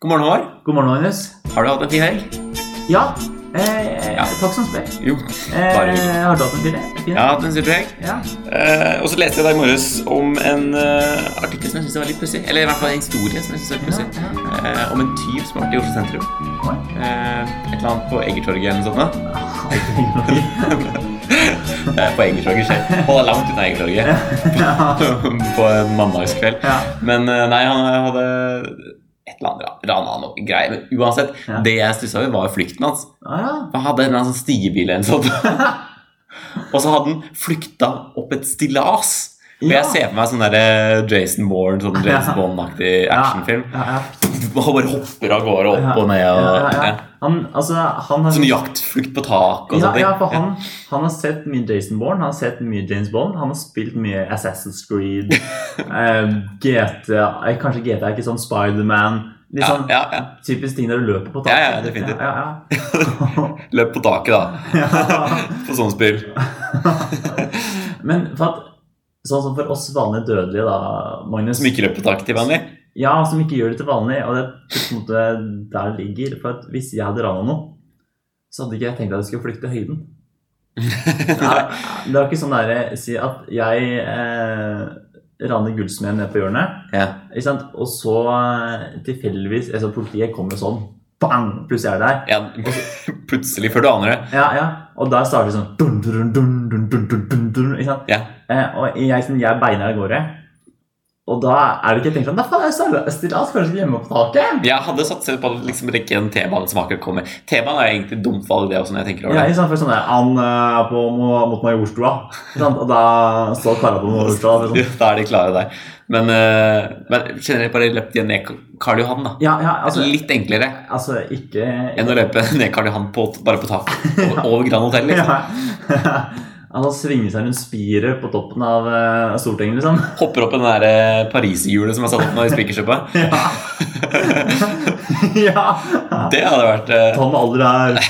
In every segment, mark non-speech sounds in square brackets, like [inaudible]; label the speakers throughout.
Speaker 1: God morgen, Håvard.
Speaker 2: God morgen, Magnus.
Speaker 1: Har du hatt en fin helg?
Speaker 2: Ja, eh,
Speaker 1: Ja.
Speaker 2: takk som spør.
Speaker 1: Jo.
Speaker 2: Eh,
Speaker 1: Bare hyggelig.
Speaker 2: har du hatt en fin helg? Fin
Speaker 1: Jeg har hatt en superhelg.
Speaker 2: helg? Ja.
Speaker 1: Eh, og så leste jeg da i morges om en eh, artikkel som jeg syns var litt pussig. Eller i hvert fall en historie som jeg syns var litt pussig.
Speaker 2: Ja,
Speaker 1: Eh, om en tyv som har vært i Oslo sentrum. [laughs]
Speaker 2: Oi.
Speaker 1: Eh, et eller annet på Eggertorget eller noe sånt. [laughs] da. Eh, på Eggertorget selv. Hold deg langt unna Eggertorget.
Speaker 2: Ja.
Speaker 1: [laughs] på en mandagskveld.
Speaker 2: Ja.
Speaker 1: Men eh, nei, han hadde et eller annet ra- rana noe greier. Men uansett,
Speaker 2: Ja.
Speaker 1: det jeg stussa over, var jo flukten hans.
Speaker 2: Ah, ja.
Speaker 1: Han hadde en eller annen sånn stigebil eller noe sånt. [laughs] Og så hadde han flykta opp et stillas. Og
Speaker 2: Ja.
Speaker 1: jeg ser for meg sånn der Jason Bourne, sånn James
Speaker 2: [laughs] Ja.
Speaker 1: Bond-aktig actionfilm.
Speaker 2: Ja, ja,
Speaker 1: Han bare hopper av gårde
Speaker 2: ja.
Speaker 1: opp og ned. Og,
Speaker 2: ja, ja, ja.
Speaker 1: ja.
Speaker 2: Han, altså, han har
Speaker 1: Sånn jaktflukt på tak og
Speaker 2: ja,
Speaker 1: sånne ting.
Speaker 2: ja, for han, han har sett mye Jason Bourne, han har sett mye James Bond, han har spilt mye Assassin's
Speaker 1: [laughs]
Speaker 2: Creed, eh, GTA eh, Kanskje GTA er ikke sånn Spiderman. Litt
Speaker 1: Ja,
Speaker 2: sånn
Speaker 1: ja, ja.
Speaker 2: typisk ting der du løper på
Speaker 1: Ja,
Speaker 2: taket.
Speaker 1: ja, definitivt.
Speaker 2: Ja, ja,
Speaker 1: Løp på taket,
Speaker 2: ja. ja. [laughs]
Speaker 1: da. På sånn spill.
Speaker 2: Men for at, sånn som for oss vanlige dødelige, da, Magnus
Speaker 1: Som ikke løp på taket til vanlig.
Speaker 2: Ja, som ikke gjør det til vanlig. Og det er på en måte der det ligger. For at hvis jeg hadde rana noe, så hadde ikke jeg tenkt at jeg skulle flykte høyden.
Speaker 1: [laughs]
Speaker 2: Det er, det er ikke sånn derre Si at jeg eh, raner gullsmeden ned på hjørnet,
Speaker 1: Ja.
Speaker 2: ikke sant? og så eh, tilfeldigvis altså, Politiet kommer sånn, bang, plutselig er det der.
Speaker 1: Ja, [laughs] plutselig, før du aner det.
Speaker 2: Ja, ja. Og der starter det sånn dun, dun, dun, dun, dun, dun, dun, dun, Ikke sant?
Speaker 1: Ja.
Speaker 2: Eh, og jeg, sånn, jeg beina av gårde. Og da er det ikke tenkt sånn Da faen, jeg stillas stillas, kanskje ikke hjemme på taket?
Speaker 1: Jeg hadde satset på å liksom rekke en T-banesmaker komme. T-banen er jo egentlig et dumt valg, det også, når jeg tenker over
Speaker 2: Ja,
Speaker 1: det.
Speaker 2: ikke sant, for sånn der, Han eh, er på, mo- mot Majorstua. Ikke sant? Og da står kara på Majorstua. og Sånn.
Speaker 1: [laughs] Da er de klare der. Men, eh, men generelt bare løpt igjen ned Karl Johan, da.
Speaker 2: Ja, ja, altså,
Speaker 1: Litt enklere
Speaker 2: altså ikke
Speaker 1: enn å løpe ned Karl Johan på, bare på
Speaker 2: [laughs]
Speaker 1: tak. Over, over Grand Hotell, liksom.
Speaker 2: ja. [laughs] Altså svinge seg rundt spiret på toppen av eh, Stortinget, liksom. [laughs]
Speaker 1: Hopper opp i det der eh, pariserhjulet som er satt opp nå i spikerskippa.
Speaker 2: Ja. ja.
Speaker 1: Det hadde vært eh, [laughs]
Speaker 2: Ta med alder her.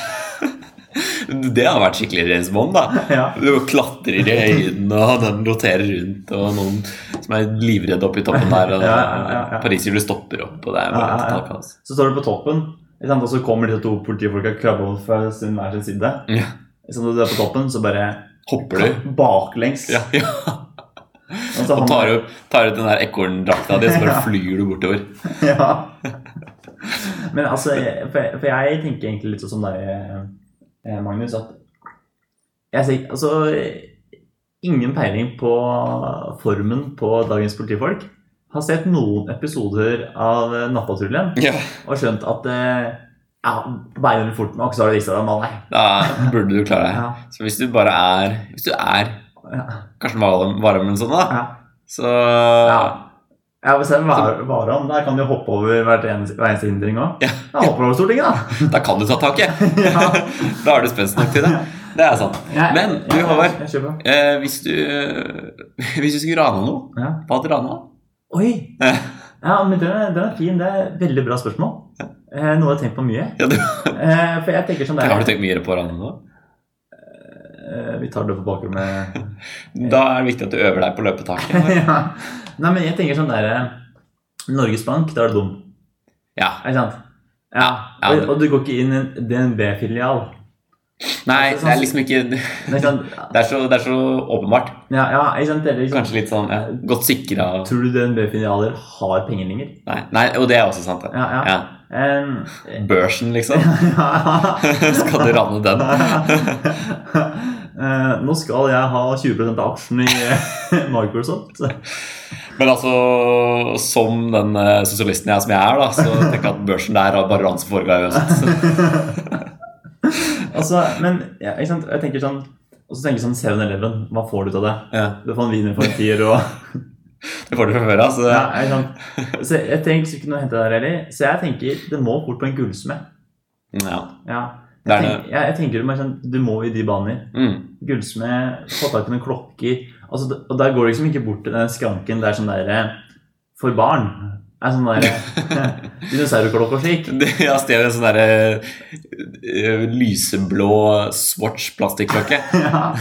Speaker 1: Det hadde vært skikkelig James Bond, da.
Speaker 2: Ja.
Speaker 1: Du klatrer i høyden, og den roterer rundt, og noen som er livredde oppi toppen der, og
Speaker 2: [laughs] Ja, ja, ja, ja.
Speaker 1: pariserhjulet stopper opp, og det er
Speaker 2: Ja,
Speaker 1: bare
Speaker 2: ja,
Speaker 1: et
Speaker 2: ja.
Speaker 1: takkaos.
Speaker 2: Så står du på toppen, ikke sant? og så kommer de to politifolka krabbe opp fra sin hver sin side.
Speaker 1: Ja.
Speaker 2: Så når du er på toppen, så bare
Speaker 1: Hopper du?
Speaker 2: baklengs.
Speaker 1: Ja, ja.
Speaker 2: Og så
Speaker 1: Og
Speaker 2: han-
Speaker 1: tar ut, tar ut den der ekorndrakta di, så bare flyr du bortover.
Speaker 2: [laughs] ja. Men altså, jeg- for jeg, for jeg tenker egentlig litt sånn som deg, eh, Magnus, at jeg ser altså ingen peiling på formen på dagens politifolk. Har sett noen episoder av eh, Nattpatruljen
Speaker 1: Ja,
Speaker 2: og skjønt at eh, ja, beina under forten, og så har det vist seg at han er
Speaker 1: Da burde du klare deg.
Speaker 2: Ja,
Speaker 1: Så hvis du bare er Hvis du er
Speaker 2: ja,
Speaker 1: Karsten Warholm Warholm eller sånn, da,
Speaker 2: ja.
Speaker 1: så
Speaker 2: ja. Ja, men selv var, Varan, der kan du hoppe over hvert eneste, hver eneste hindring òg.
Speaker 1: Ja.
Speaker 2: Ja, hopper over Stortinget,
Speaker 1: [laughs]
Speaker 2: da.
Speaker 1: Da kan du ta taket.
Speaker 2: Ja.
Speaker 1: Da har du spenst nok til det. Det er sant.
Speaker 2: Jeg-
Speaker 1: Men, du,
Speaker 2: jeg-
Speaker 1: Håvard.
Speaker 2: Jeg kjøper.
Speaker 1: Eh, hvis, du, hvis du skulle rana noe,
Speaker 2: Ja.
Speaker 1: hva hadde du rana?
Speaker 2: Oi!
Speaker 1: Ja.
Speaker 2: Ja, men den er, den er fin. Det er et veldig bra spørsmål. Eh, noe jeg har tenkt på mye.
Speaker 1: Ja, du,
Speaker 2: Eh, for jeg tenker sånn
Speaker 1: har du
Speaker 2: der
Speaker 1: tenkt mye på å rane nå?
Speaker 2: eh, Vi tar det på bakgrunn med
Speaker 1: Da er det viktig at du øver deg på å løpe taket.
Speaker 2: [laughs] ja. Nei, men jeg tenker sånn der eh, Norges Bank, da er du dum.
Speaker 1: Ja.
Speaker 2: Er det sant?
Speaker 1: Ja, ja.
Speaker 2: Og, og du går ikke inn i en DNB-filial.
Speaker 1: Nei, det er liksom ikke Det
Speaker 2: Det er sånn-
Speaker 1: er så, det er så åpenbart.
Speaker 2: Ja, ja, ikke sant? Det er liksom,
Speaker 1: Kanskje litt sånn ja, godt sikra
Speaker 2: Tror du DNB-filialer har penger lenger?
Speaker 1: nei, nei, og det er også sant. det.
Speaker 2: Ja, ja.
Speaker 1: Ja.
Speaker 2: Em, [laughs]
Speaker 1: Børsen, liksom.
Speaker 2: ja.
Speaker 1: [laughs] Skal du ranne den?
Speaker 2: [laughs] Eh, Nå skal jeg ha 20 av aksjen i eh, Microsoft.
Speaker 1: Men altså, som den eh, sosialisten jeg, som jeg er, da, så tenker jeg at børsen der er bare ran som foregår
Speaker 2: [laughs]
Speaker 1: uansett.
Speaker 2: Altså, men ja, ikke sant? jeg tenker sånn Og så tenker jeg sånn 7-Eleven. Hva får du ut av det?
Speaker 1: Ja.
Speaker 2: Du får en wiener for en tier og
Speaker 1: [laughs] Det får altså. du fra før av, så
Speaker 2: ja, ikke sant? Så jeg tenker ikke noe å hente der heller. Så jeg tenker det må fort på en gullsmed.
Speaker 1: Mm, ja.
Speaker 2: Ja.
Speaker 1: Det er
Speaker 2: Jeg, tenker, jeg, jeg tenker meg sånn, Du må i de baner.
Speaker 1: Mm. [laughs]
Speaker 2: gullsmed, få tak i noen klokker altså, d- Og der går det liksom ikke bort til den skranken der sånn der eh, For barn. Er sånn der eh, [laughs] dinosaurklokke og slik. [laughs]
Speaker 1: Det, ja, Steven, en sånn eh, derre ø, ø, lyseblå Swatch plastikklokke.
Speaker 2: Ja.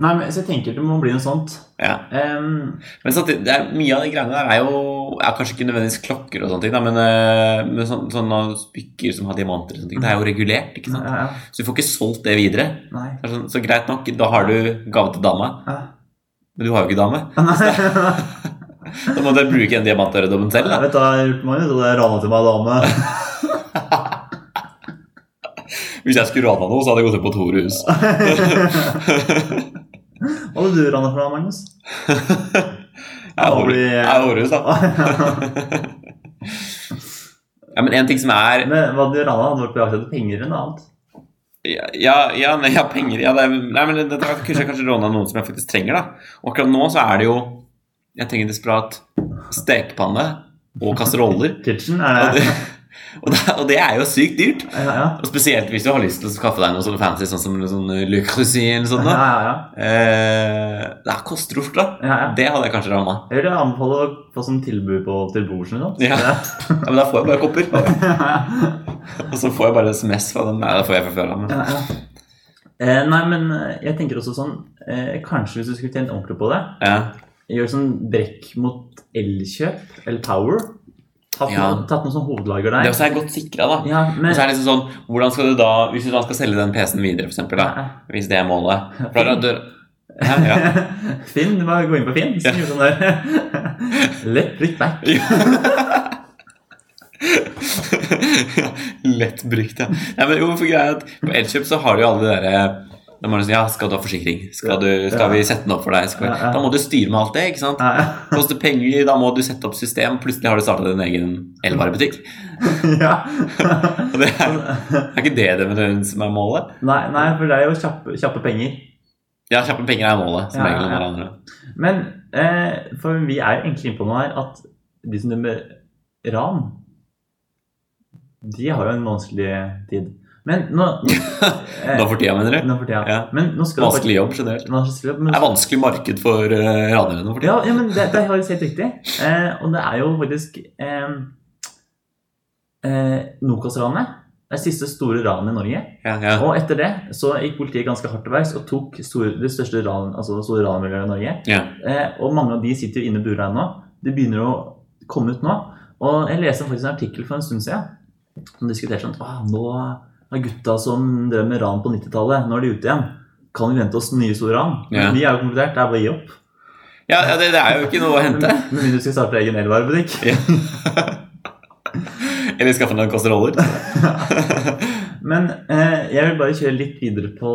Speaker 2: Nei, men, så jeg tenker det må bli noe sånt.
Speaker 1: Ja.
Speaker 2: Ehm,
Speaker 1: Men samtidig, det er, mye av de greiene der er jo er kanskje ikke nødvendigvis klokker og sånne ting, da, men, eh, men sånn- sånne smykker som har diamanter og sånne ting, det er jo regulert, ikke sant?
Speaker 2: ja, ja.
Speaker 1: Så du får ikke solgt det videre.
Speaker 2: Nei.
Speaker 1: Det er sånn, så greit nok, da har du gave til dama,
Speaker 2: Ja. [laughs]
Speaker 1: men du har jo ikke dame.
Speaker 2: Nei.
Speaker 1: Da må du bruke den diamantøredobben selv, da.
Speaker 2: Jeg vet da, jeg lurte på meg, det rana til meg dame.
Speaker 1: Hvis jeg skulle rana noe, så hadde jeg gått inn på Tore hus.
Speaker 2: Hva hadde du rana for da, Magnus? [laughs]
Speaker 1: Jeg er
Speaker 2: Da
Speaker 1: hore-
Speaker 2: blir-
Speaker 1: jeg er horehus, da. Ja, men en ting som er
Speaker 2: Men hva hadde du rana? Hadde du vært på jakt etter penger eller noe annet?
Speaker 1: Ja, ja, ja, nei, ja penger ja, det er, Nei, men dette har jeg kanskje, kanskje råna noen som jeg faktisk trenger, da. Og akkurat nå så er det jo Jeg trenger desperat stekepanne og kasseroller.
Speaker 2: Kitchen?
Speaker 1: Og
Speaker 2: Er
Speaker 1: det,
Speaker 2: det?
Speaker 1: og, det, og det er jo sykt dyrt.
Speaker 2: Ja, ja.
Speaker 1: Og spesielt hvis du har lyst til å skaffe deg noe sånn fancy, sånn som noe sånn Le Creuset eller sånt.
Speaker 2: Ja,
Speaker 1: Da.
Speaker 2: ja, ja.
Speaker 1: Eh, det er kostrort, da.
Speaker 2: ja, ja.
Speaker 1: Det hadde jeg kanskje råna.
Speaker 2: Jeg vil anbefale å få sånn tilbud på til bordsen. Liksom.
Speaker 1: Ja. Ja, men da får jeg bare kopper.
Speaker 2: [laughs] ja,
Speaker 1: Og så får jeg bare SMS fra den. Nei, det får jeg fra før av. men-
Speaker 2: ja. Eh, nei, men eh, jeg tenker også sånn eh, Kanskje hvis du skulle tjent ordentlig på det,
Speaker 1: Ja.
Speaker 2: gjør sånn brekk mot Elkjøp eller Power. Tatt,
Speaker 1: Ja.
Speaker 2: noe, tatt noe sånn hovedlager
Speaker 1: Det
Speaker 2: der.
Speaker 1: også er godt sikra, da.
Speaker 2: Ja, men
Speaker 1: Og så er det liksom sånn, hvordan skal du da, Hvis du da skal selge den PC-en videre, for eksempel, da, hvis det er målet for da dør... Hæ? ja. [laughs]
Speaker 2: [laughs] Finn, du må gå inn på Finn.
Speaker 1: Ja.
Speaker 2: Skriv sånn der. [laughs] Let brick back.
Speaker 1: Lett brukt, ja. Nei, men jo, for greia er at På Elkjøp så har du jo alle de derre da må du si, ja, Skal du ha forsikring? Skal, du, skal vi sette den opp for deg? Skal vi?
Speaker 2: Ja, ja.
Speaker 1: Da må du styre med alt det. ikke sant?
Speaker 2: Ja, ja.
Speaker 1: Koster penger, da må du sette opp system. Plutselig har du starta din egen elvarebutikk.
Speaker 2: [laughs] ja.
Speaker 1: Og det er, er ikke det det med som er målet?
Speaker 2: Nei, nei, for det er jo kjappe, kjappe penger.
Speaker 1: Ja, kjappe penger er målet. som
Speaker 2: Ja, ja,
Speaker 1: regel
Speaker 2: ja.
Speaker 1: alle andre.
Speaker 2: Men eh, for vi er jo egentlig inne på noe her at de som driver med ran, de har jo en vanskelig tid. Men
Speaker 1: [laughs]
Speaker 2: nå eh,
Speaker 1: Nå for tida, mener du?
Speaker 2: nå for tida.
Speaker 1: Ja.
Speaker 2: Men nå skal
Speaker 1: Vanskelig jobb generelt.
Speaker 2: Nå er det vanskelig jobb, men-
Speaker 1: Det er vanskelig marked for uh, ranere nå for tiden.
Speaker 2: Ja, ja, men det, det er faktisk helt riktig. Eh, og det er jo faktisk eh, eh, Nokas-ranet. Det er siste store ranet i Norge.
Speaker 1: Ja, ja.
Speaker 2: [laughs] Og etter det så gikk politiet ganske hardt til verks og tok store, det største ran, altså det store ranmiljøet i Norge.
Speaker 1: Ja.
Speaker 2: Eh, og mange av de sitter jo inne i bura ennå. De begynner å komme ut nå. Og jeg leste faktisk en artikkel for en stund siden som diskuterte sånn at nå er gutta som drev med ran på 90-tallet, nå er de ute igjen. Kan vi vente oss nye store ran?
Speaker 1: Ja.
Speaker 2: Vi er jo konkludert. Det er bare å gi opp.
Speaker 1: Ja, ja det, det er jo ikke noe å hente.
Speaker 2: Med mindre du skal starte egen elvarebutikk.
Speaker 1: Eller skaffe noen kasseroller.
Speaker 2: [laughs] Men eh, jeg vil bare kjøre litt videre på,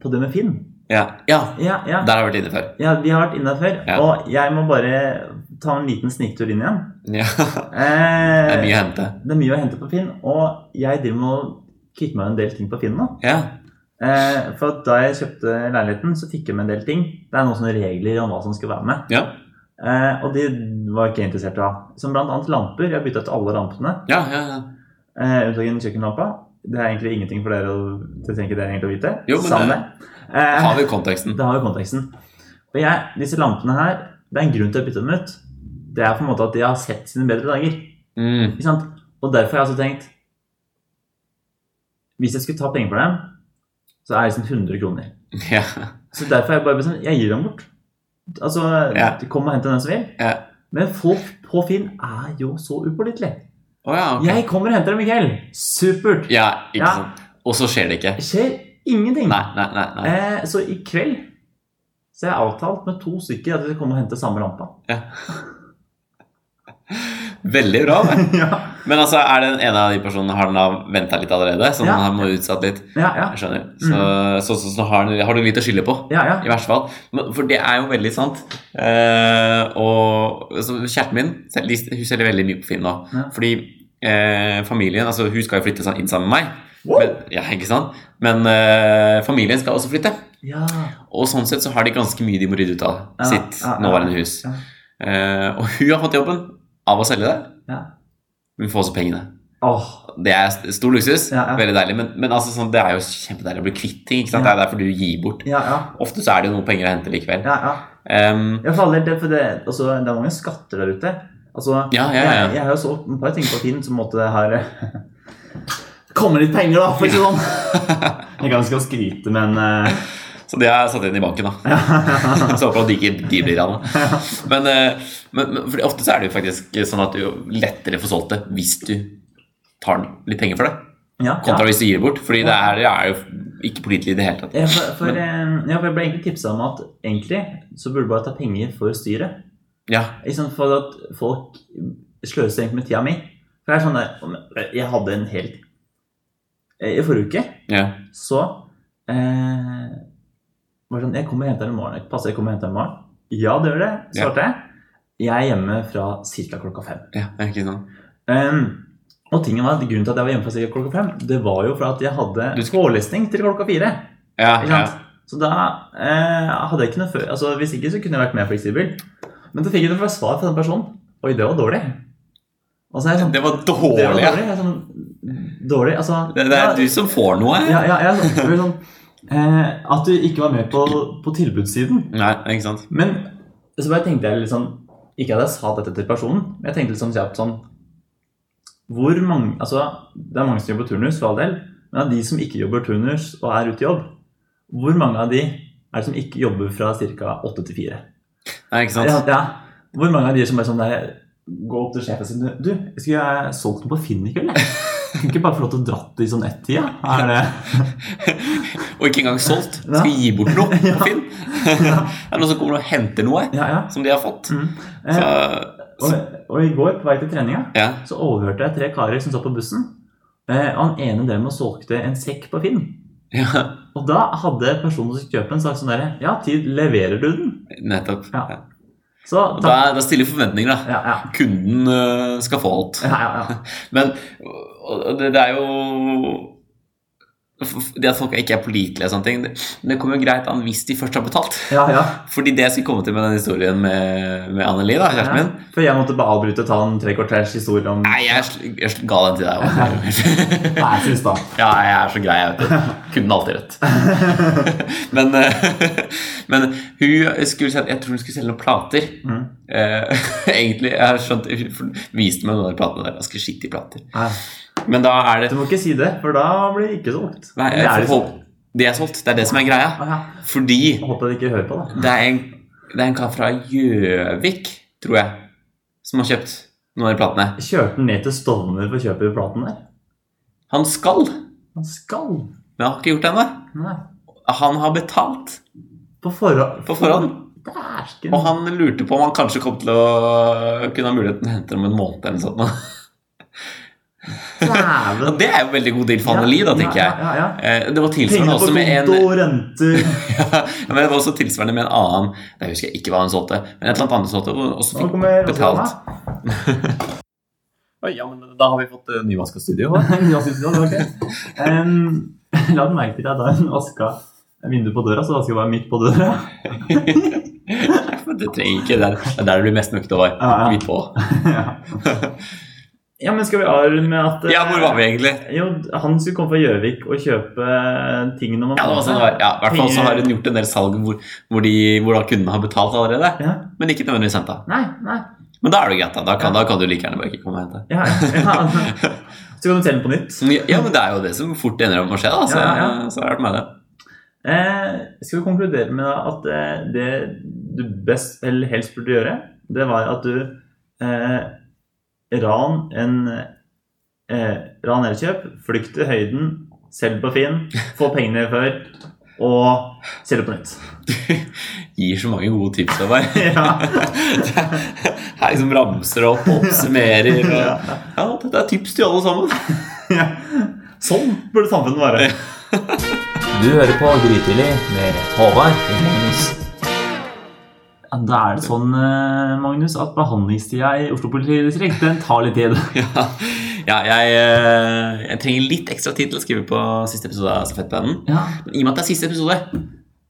Speaker 2: på det med Finn.
Speaker 1: Ja, ja,
Speaker 2: Ja, ja.
Speaker 1: der har jeg vært inne før.
Speaker 2: ja vi har vært inne der før.
Speaker 1: Ja.
Speaker 2: Og jeg må bare ta en liten sniktur inn igjen.
Speaker 1: Ja,
Speaker 2: Eh,
Speaker 1: det er mye å hente.
Speaker 2: det er mye å hente på Finn. Og jeg driver med å kvitte meg med en del ting på Finn nå.
Speaker 1: Ja,
Speaker 2: Eh, for at da jeg kjøpte leiligheten, så fikk jeg med en del ting. Det er noen sånne regler om hva som skal være med.
Speaker 1: ja,
Speaker 2: Eh, og de var jeg ikke interessert i å ha. Som blant annet lamper. Jeg bytta ut alle lampene.
Speaker 1: ja, ja. ja.
Speaker 2: Eh, unntagen kjøkkenlampa. Det er egentlig ingenting for dere å, det trenger ikke dere egentlig å vite.
Speaker 1: Jo, men
Speaker 2: Samme det.
Speaker 1: Da
Speaker 2: Eh,
Speaker 1: har vi konteksten.
Speaker 2: det har jo konteksten. Og jeg, disse lampene her, det er en grunn til å bytte dem ut. Det er på en måte at de har sett sine bedre dager.
Speaker 1: Mm.
Speaker 2: Ikke sant? Og derfor har jeg altså tenkt Hvis jeg skulle ta penger for dem, så er det liksom 100 kroner.
Speaker 1: Ja,
Speaker 2: Så derfor har jeg bare bestemt Jeg gir dem bort. Altså,
Speaker 1: Ja.
Speaker 2: kom og hent den som vil.
Speaker 1: Ja.
Speaker 2: Men folk på Finn er jo så upålitelige.
Speaker 1: Å ja, ok.
Speaker 2: Jeg kommer og henter dem i kveld. Supert.
Speaker 1: Ja, ikke
Speaker 2: Ja.
Speaker 1: sant. Og så skjer det ikke.
Speaker 2: Det skjer ingenting.
Speaker 1: Nei, nei, nei. nei.
Speaker 2: Eh, så i kveld så er jeg avtalt med to stykker at de skal komme og hente samme lampa.
Speaker 1: Veldig bra. Men,
Speaker 2: [laughs] ja,
Speaker 1: men altså, er den ene av de personene har den da venta litt allerede? Så den
Speaker 2: Ja. Mm.
Speaker 1: har må utsatt litt?
Speaker 2: ja, ja.
Speaker 1: Jeg skjønner. Så, så, så, så har, den, har du litt å skylde på?
Speaker 2: ja, ja.
Speaker 1: I verste fall. Men- For det er jo veldig sant. Eh, og altså, Kjæresten min sel- de- hun selger veldig mye på Finn nå.
Speaker 2: Ja.
Speaker 1: Fordi eh, familien altså Hun skal jo flytte sa- inn sammen med meg.
Speaker 2: Wow!
Speaker 1: Men, ja, ikke sant? Men eh, familien skal også flytte.
Speaker 2: ja.
Speaker 1: Og sånn sett så har de ganske mye de må rydde ut av
Speaker 2: Ja,
Speaker 1: sitt
Speaker 2: ja, ja.
Speaker 1: nåværende hus.
Speaker 2: Ja.
Speaker 1: Eh, og hun har fått jobben av å selge det.
Speaker 2: Ja.
Speaker 1: Hun får også pengene.
Speaker 2: Åh,
Speaker 1: Det er st- stor luksus.
Speaker 2: Ja, ja.
Speaker 1: Veldig deilig. Men, men altså, sånn, det er jo kjempedeilig å bli kvitt ting. Ikke sant?
Speaker 2: Ja.
Speaker 1: Det er derfor du gir bort.
Speaker 2: ja, ja.
Speaker 1: Ofte så er det jo noen penger å hente likevel.
Speaker 2: ja, ja.
Speaker 1: Ehm,
Speaker 2: Jeg faller det, for det, altså, det er mange skatter der ute. Altså,
Speaker 1: Ja, ja, ja.
Speaker 2: Jeg, jeg har jo så et par ting på Finn som måtte her [laughs]
Speaker 1: [laughs]
Speaker 2: Komme litt penger, da, for å si det sånn. Jeg kan ikke skryte, men eh,
Speaker 1: Så det har jeg satt inn i banken,
Speaker 2: [laughs]
Speaker 1: da. så håper jeg at de ikke de blir av det. Men, eh, men, men fordi ofte så er det jo faktisk sånn at du jo lettere får solgt det hvis du tar litt penger for det,
Speaker 2: Ja,
Speaker 1: kontra hvis du gir det bort. Fordi det er, det er jo ikke pålitelig i det hele tatt.
Speaker 2: Ja, for, for, eh, ja, for jeg ble egentlig tipsa om at egentlig så burde du bare ta penger for styret.
Speaker 1: Ja,
Speaker 2: Ikke sant, for at folk sløser egentlig med tida mi. For det er sånn der, om- Jeg hadde en helt eh, I forrige uke
Speaker 1: ja,
Speaker 2: så eh, var det sånn Jeg kommer og henter deg i morgen. Passer jeg kommer og henter deg i morgen? Ja, det gjør det, svarte jeg. Jeg er hjemme fra ca. klokka fem.
Speaker 1: ja, det er ikke sånn.
Speaker 2: Um, og tingen var at Grunnen til at jeg var hjemme fra cirka klokka fem, det var jo for at jeg hadde
Speaker 1: Du skulle-
Speaker 2: forelesning til klokka fire.
Speaker 1: Ja,
Speaker 2: Ikke
Speaker 1: ja.
Speaker 2: sant? Så da eh, hadde jeg ikke noe før Altså Hvis ikke så kunne jeg vært mer fleksibel. Men så fikk jeg det svar fra den personen. Oi, det var dårlig. Og så er jeg sånn,
Speaker 1: Det var
Speaker 2: det var
Speaker 1: dårlig. ja.
Speaker 2: dårlig. Jeg er sånn, dårlig altså,
Speaker 1: Det, det
Speaker 2: ja,
Speaker 1: er du som får noe.
Speaker 2: ja, ja, jeg er sånn, jeg blir sånn, eh, At du ikke var med på, på tilbudssiden.
Speaker 1: Nei, ikke sant.
Speaker 2: Men så bare tenkte jeg litt sånn Ikke at jeg sa dette til personen, men jeg tenkte litt sånn kjapt sånn Hvor mange Altså, det er mange som jobber turnus, for all del, men av de som ikke jobber turnus og er ute i jobb, hvor mange av de er det som ikke jobber fra ca. åtte til fire?
Speaker 1: Nei, ikke
Speaker 2: Ja,
Speaker 1: sant.
Speaker 2: ja. Hvor mange av de som bare sånn der Gå opp til sjefen sin Du, jeg skulle ha solgt noe på Finn i kveld, jeg. Kunne ikke bare få lov til å dratt i sånn ett-tida? Er det
Speaker 1: Og ikke engang solgt.
Speaker 2: Ja.
Speaker 1: Skal gi bort noe
Speaker 2: [laughs] Ja.
Speaker 1: på Finn. [laughs] Det er noen som kommer og henter noe
Speaker 2: Ja, ja.
Speaker 1: som de har fått.
Speaker 2: Mm.
Speaker 1: Så,
Speaker 2: Eh, og, og i går, på vei til treninga,
Speaker 1: ja.
Speaker 2: så overhørte jeg tre karer som satt på bussen. Eh, og han ene drev med og solgte en sekk på Finn.
Speaker 1: ja.
Speaker 2: Og da hadde personen som skulle kjøpe den, sagt sånn derre Ja, tid leverer du den?
Speaker 1: Nettopp.
Speaker 2: Ja.
Speaker 1: Ja.
Speaker 2: Så
Speaker 1: Og
Speaker 2: takk.
Speaker 1: Da, da stiller forventninger, da.
Speaker 2: Ja, ja.
Speaker 1: Kunden øh, skal få alt.
Speaker 2: Ja, ja, ja.
Speaker 1: Men og- og det, det er jo f- Det at folk ikke er pålitelige og sånne ting, det, det kommer jo greit an hvis de først har betalt.
Speaker 2: ja, ja.
Speaker 1: Fordi det jeg skulle komme til med den historien med, med Anneli, da, kjæresten
Speaker 2: ja.
Speaker 1: min
Speaker 2: For jeg måtte bare avbryte og ta en tre kvarters historie om
Speaker 1: Nei, jeg, sl- jeg sl- ga den til deg
Speaker 2: [laughs]
Speaker 1: [laughs] òg.
Speaker 2: Nei, synes da.
Speaker 1: Ja, jeg er så grei, jeg vet det. Kunden er alltid rødt.
Speaker 2: [laughs]
Speaker 1: Men, eh, men hun skulle selge, jeg tror hun skulle selge noen plater.
Speaker 2: Mm.
Speaker 1: Eh, [laughs] egentlig, jeg har skjønt Hun viste meg noen av de platene der. Ganske skittige plater.
Speaker 2: Nei.
Speaker 1: Men da er det
Speaker 2: Du må ikke si det, for da blir det ikke solgt.
Speaker 1: Nei,
Speaker 2: det er
Speaker 1: jeg,
Speaker 2: det ikke.
Speaker 1: for, det er solgt. Det er det som er greia.
Speaker 2: Å, ja.
Speaker 1: Fordi
Speaker 2: Jeg Håper de ikke hører på, da.
Speaker 1: det er en, det er en kar fra Gjøvik, tror jeg, som har kjøpt noen av de platene.
Speaker 2: Kjørte den ned til Stovner for å kjøpe platen der?
Speaker 1: Han skal,
Speaker 2: Han skal!
Speaker 1: men han har ikke gjort det ennå.
Speaker 2: Nei.
Speaker 1: Han har betalt
Speaker 2: På forhånd.
Speaker 1: på forhånd.
Speaker 2: Dæsken.
Speaker 1: Og han lurte på om han kanskje kom til å kunne ha muligheten til å hente dem om en måned eller noe sånt. [laughs]
Speaker 2: Dæven.
Speaker 1: Og det er jo en veldig god deal for Anneli, da, tenker jeg.
Speaker 2: Ja, ja, ja.
Speaker 1: Eh, Det var tilsvarende
Speaker 2: Pengene på
Speaker 1: også med en
Speaker 2: konto, renter
Speaker 1: [laughs] ja, men det var også tilsvarende med en annen Jeg husker ikke hva hun solgte, men et eller annet annet hun solgte, og også [laughs]
Speaker 2: Nå
Speaker 1: fikk
Speaker 2: kommer altså,
Speaker 1: betalt. Oi, ja, men da har vi fått eh, nyvaska studio. da.
Speaker 2: [laughs] Ja, synes jeg det var ok. Em, [laughs] La du merke til at da hun vaska vinduet på døra, så vasker jeg bare midt på døra.
Speaker 1: [laughs]
Speaker 2: [laughs]
Speaker 1: Men det trenger ikke Det er det er der du blir mest nøkt over.
Speaker 2: Ja, ja.
Speaker 1: Midt på.
Speaker 2: Ja. ja, men skal vi avrunde med at eh,
Speaker 1: Ja, hvor var vi egentlig?
Speaker 2: Jo, han skulle komme fra Gjøvik og kjøpe eh, tingene om
Speaker 1: Ja, det var sånn det var. Ja, i hvert fall så har hun gjort en del salg hvor, hvor, de, hvor da kundene har betalt allerede,
Speaker 2: Ja.
Speaker 1: men ikke nødvendigvis henta.
Speaker 2: Nei, nei.
Speaker 1: Men da er det greit, da. Da kan, da kan du like gjerne bare ikke komme og hente.
Speaker 2: Ja, ja.
Speaker 1: [laughs]
Speaker 2: Så kan du selge den på nytt.
Speaker 1: Ja, ja, men det er jo det som fort ender opp med å skje. Da. Så,
Speaker 2: Ja, ja.
Speaker 1: så er det med det.
Speaker 2: Eh, skal vi konkludere med at eh, det du best eller helst burde gjøre, det var at du eh, ran en eh, ran elkjøp, flykt til høyden, selg på Finn, få pengene før, og selg på nytt. [laughs]
Speaker 1: Gir så mange gode tips til [laughs] meg.
Speaker 2: ja.
Speaker 1: Her liksom ramser opp, oppsummerer og Ja, dette er tips til alle sammen. [laughs]
Speaker 2: ja. Sånn burde samfunnet være. du hører på Grytidlig med Håvard og Magnus. Da er det sånn, eh, Magnus, at behandlingstida i Oslo politidistrikt den tar litt tid.
Speaker 1: Ja, ja jeg, eh, jeg trenger litt ekstra tid til å skrive på siste episode av Stafettpennen.
Speaker 2: [laughs] Ja,
Speaker 1: Men i og med at det er siste episode,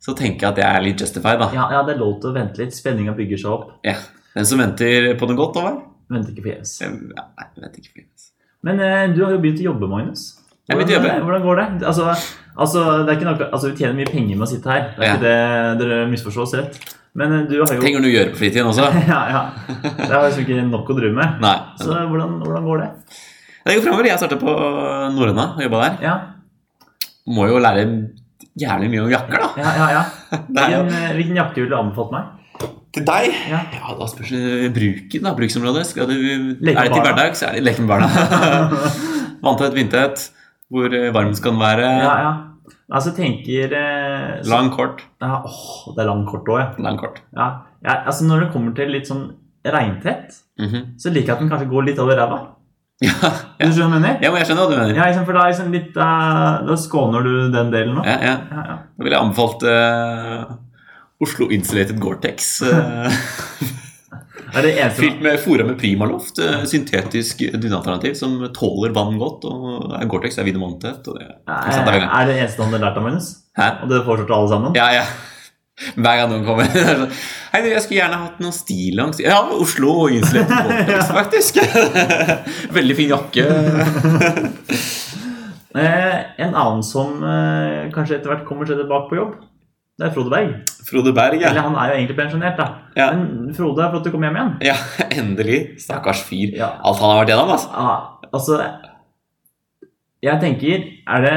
Speaker 1: så tenker jeg at jeg er litt justified, da.
Speaker 2: ja, ja det er lov til å vente litt. Spenninga bygger seg opp.
Speaker 1: Ja. Den som venter på noe godt, over?
Speaker 2: Venter ikke forgjeves.
Speaker 1: Ja, Nei, jeg vet ikke.
Speaker 2: Men eh, du har jo begynt å jobbe, Magnus.
Speaker 1: Jeg har begynt å jobbe.
Speaker 2: Hvordan går det? Altså, altså, det er ikke noe, altså, vi tjener mye penger med å sitte her. Det er
Speaker 1: Ja.
Speaker 2: ikke det dere misforstås rett. Men eh, du har jo
Speaker 1: Trenger du noe å gjøre på fritiden også?
Speaker 2: [laughs] ja, ja. Det er liksom ikke nok å drive med.
Speaker 1: Nei.
Speaker 2: Så hvordan, hvordan går det?
Speaker 1: Det går fremover. Jeg starter på Norrøna og jobba der.
Speaker 2: Ja.
Speaker 1: Må jo lære jævlig mye om jakker, da.
Speaker 2: Ja, ja, ja.
Speaker 1: [laughs] Det er jo
Speaker 2: Hvilken, eh, hvilken jakke ville du anbefalt
Speaker 1: [laughs]
Speaker 2: meg?
Speaker 1: til deg.
Speaker 2: Ja.
Speaker 1: Ja, da spørs det bruken, da. Bruksområdet. Skal du, er det til
Speaker 2: Lekebarna.
Speaker 1: hverdag, så er det leken med
Speaker 2: [laughs]
Speaker 1: barna. Vanntett, vindtett. Hvor eh, varm skal den være?
Speaker 2: Ja, ja. Altså, tenker eh, så,
Speaker 1: Lang, kort.
Speaker 2: ja, åh, Det er lang kort òg, ja.
Speaker 1: Lang, kort.
Speaker 2: ja. ja. Altså, når det kommer til litt sånn regntett,
Speaker 1: Mhm. [laughs]
Speaker 2: så liker jeg at den kanskje går litt over ræva.
Speaker 1: ja,
Speaker 2: Du
Speaker 1: ja.
Speaker 2: skjønner hva jeg mener?
Speaker 1: ja, men jeg skjønner hva du mener.
Speaker 2: Ja, liksom, for da, er liksom litt, eh, da skåner du den delen nå.
Speaker 1: Ja, ja.
Speaker 2: Ja, ja.
Speaker 1: Da ville jeg anbefalt eh, Oslo Insulated Gore-Tex.
Speaker 2: [laughs]
Speaker 1: eh,
Speaker 2: Det er det eneste
Speaker 1: fylt med fora med primaloft. eh, syntetisk dunalternativ som tåler vann godt. Og eh, Gore-Tex er vinn og vanntett. og det- ikke sant, det er veldig-
Speaker 2: Er det eneste han har lært av Magnus?
Speaker 1: Hæ?
Speaker 2: Og det foreslår til alle sammen?
Speaker 1: Ja, ja. Hver gang noen kommer. [laughs] det er sånn, Hei, du, jeg skulle gjerne hatt noen stillongs. Ja, Oslo og Innsletten
Speaker 2: [laughs]
Speaker 1: Vortex, faktisk. [laughs] Veldig fin jakke.
Speaker 2: Eh, en annen som eh, kanskje etter hvert kommer seg tilbake på jobb, det er Frode Berg.
Speaker 1: Frode Berg, ja.
Speaker 2: Eller han er jo egentlig pensjonert, da.
Speaker 1: Ja.
Speaker 2: Men Frode er flott å komme hjem igjen.
Speaker 1: ja. Endelig. Stakkars fyr.
Speaker 2: Ja.
Speaker 1: Alt han har vært gjennom, altså.
Speaker 2: Ah, altså Jeg tenker Er det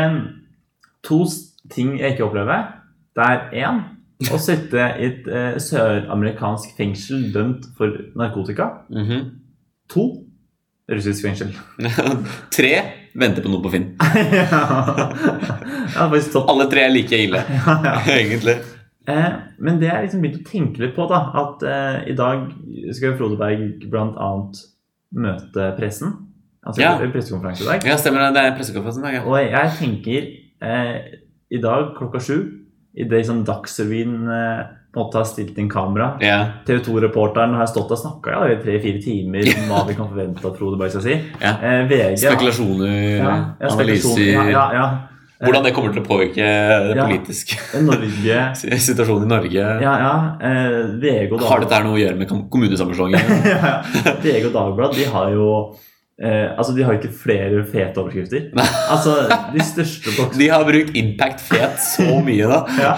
Speaker 2: to s- ting jeg ikke opplever? Det er én å sitte i et eh, søramerikansk fengsel dømt for narkotika.
Speaker 1: Mhm.
Speaker 2: To russisk fengsel. [laughs]
Speaker 1: [laughs] Tre venter på noe på Finn.
Speaker 2: ja, det er faktisk topp.
Speaker 1: Alle tre er like ille,
Speaker 2: [laughs] Ja, ja.
Speaker 1: egentlig.
Speaker 2: Eh, men det jeg liksom begynte å tenke litt på, da At eh, i dag skal jo Frode Berg blant annet møte pressen. Altså
Speaker 1: Ja.
Speaker 2: en pressekonferanse i dag.
Speaker 1: Ja, stemmer det. Det er pressekonferansen i dag, ja.
Speaker 2: Og jeg tenker eh, i dag klokka sju, i det som Dagsrevyen eh, på en måte har stilt inn kamera
Speaker 1: Ja,
Speaker 2: TV 2-reporteren har stått og snakka i tre-fire timer om hva vi kan forvente at Frode Berg skal si.
Speaker 1: Ja.
Speaker 2: Eh, VG
Speaker 1: Spekulasjoner,
Speaker 2: ja, ja, spekulasjon.
Speaker 1: analyser
Speaker 2: Ja, ja, ja. Eh,
Speaker 1: Hvordan det kommer til å påvirke den
Speaker 2: Ja.
Speaker 1: politiske [laughs]
Speaker 2: Norge
Speaker 1: situasjonen i Norge.
Speaker 2: Ja, ja. Eh, VG og
Speaker 1: Har dette her noe å gjøre med kom- kommunesammenslåingen?
Speaker 2: [laughs] Ja, ja. VG og Dagbladet de har jo eh, Altså, de har jo ikke flere fete overskrifter.
Speaker 1: Nei.
Speaker 2: Altså, de
Speaker 1: [laughs]
Speaker 2: største boksene
Speaker 1: De har brukt Impact Fet
Speaker 2: [laughs]
Speaker 1: så mye, da.
Speaker 2: ja.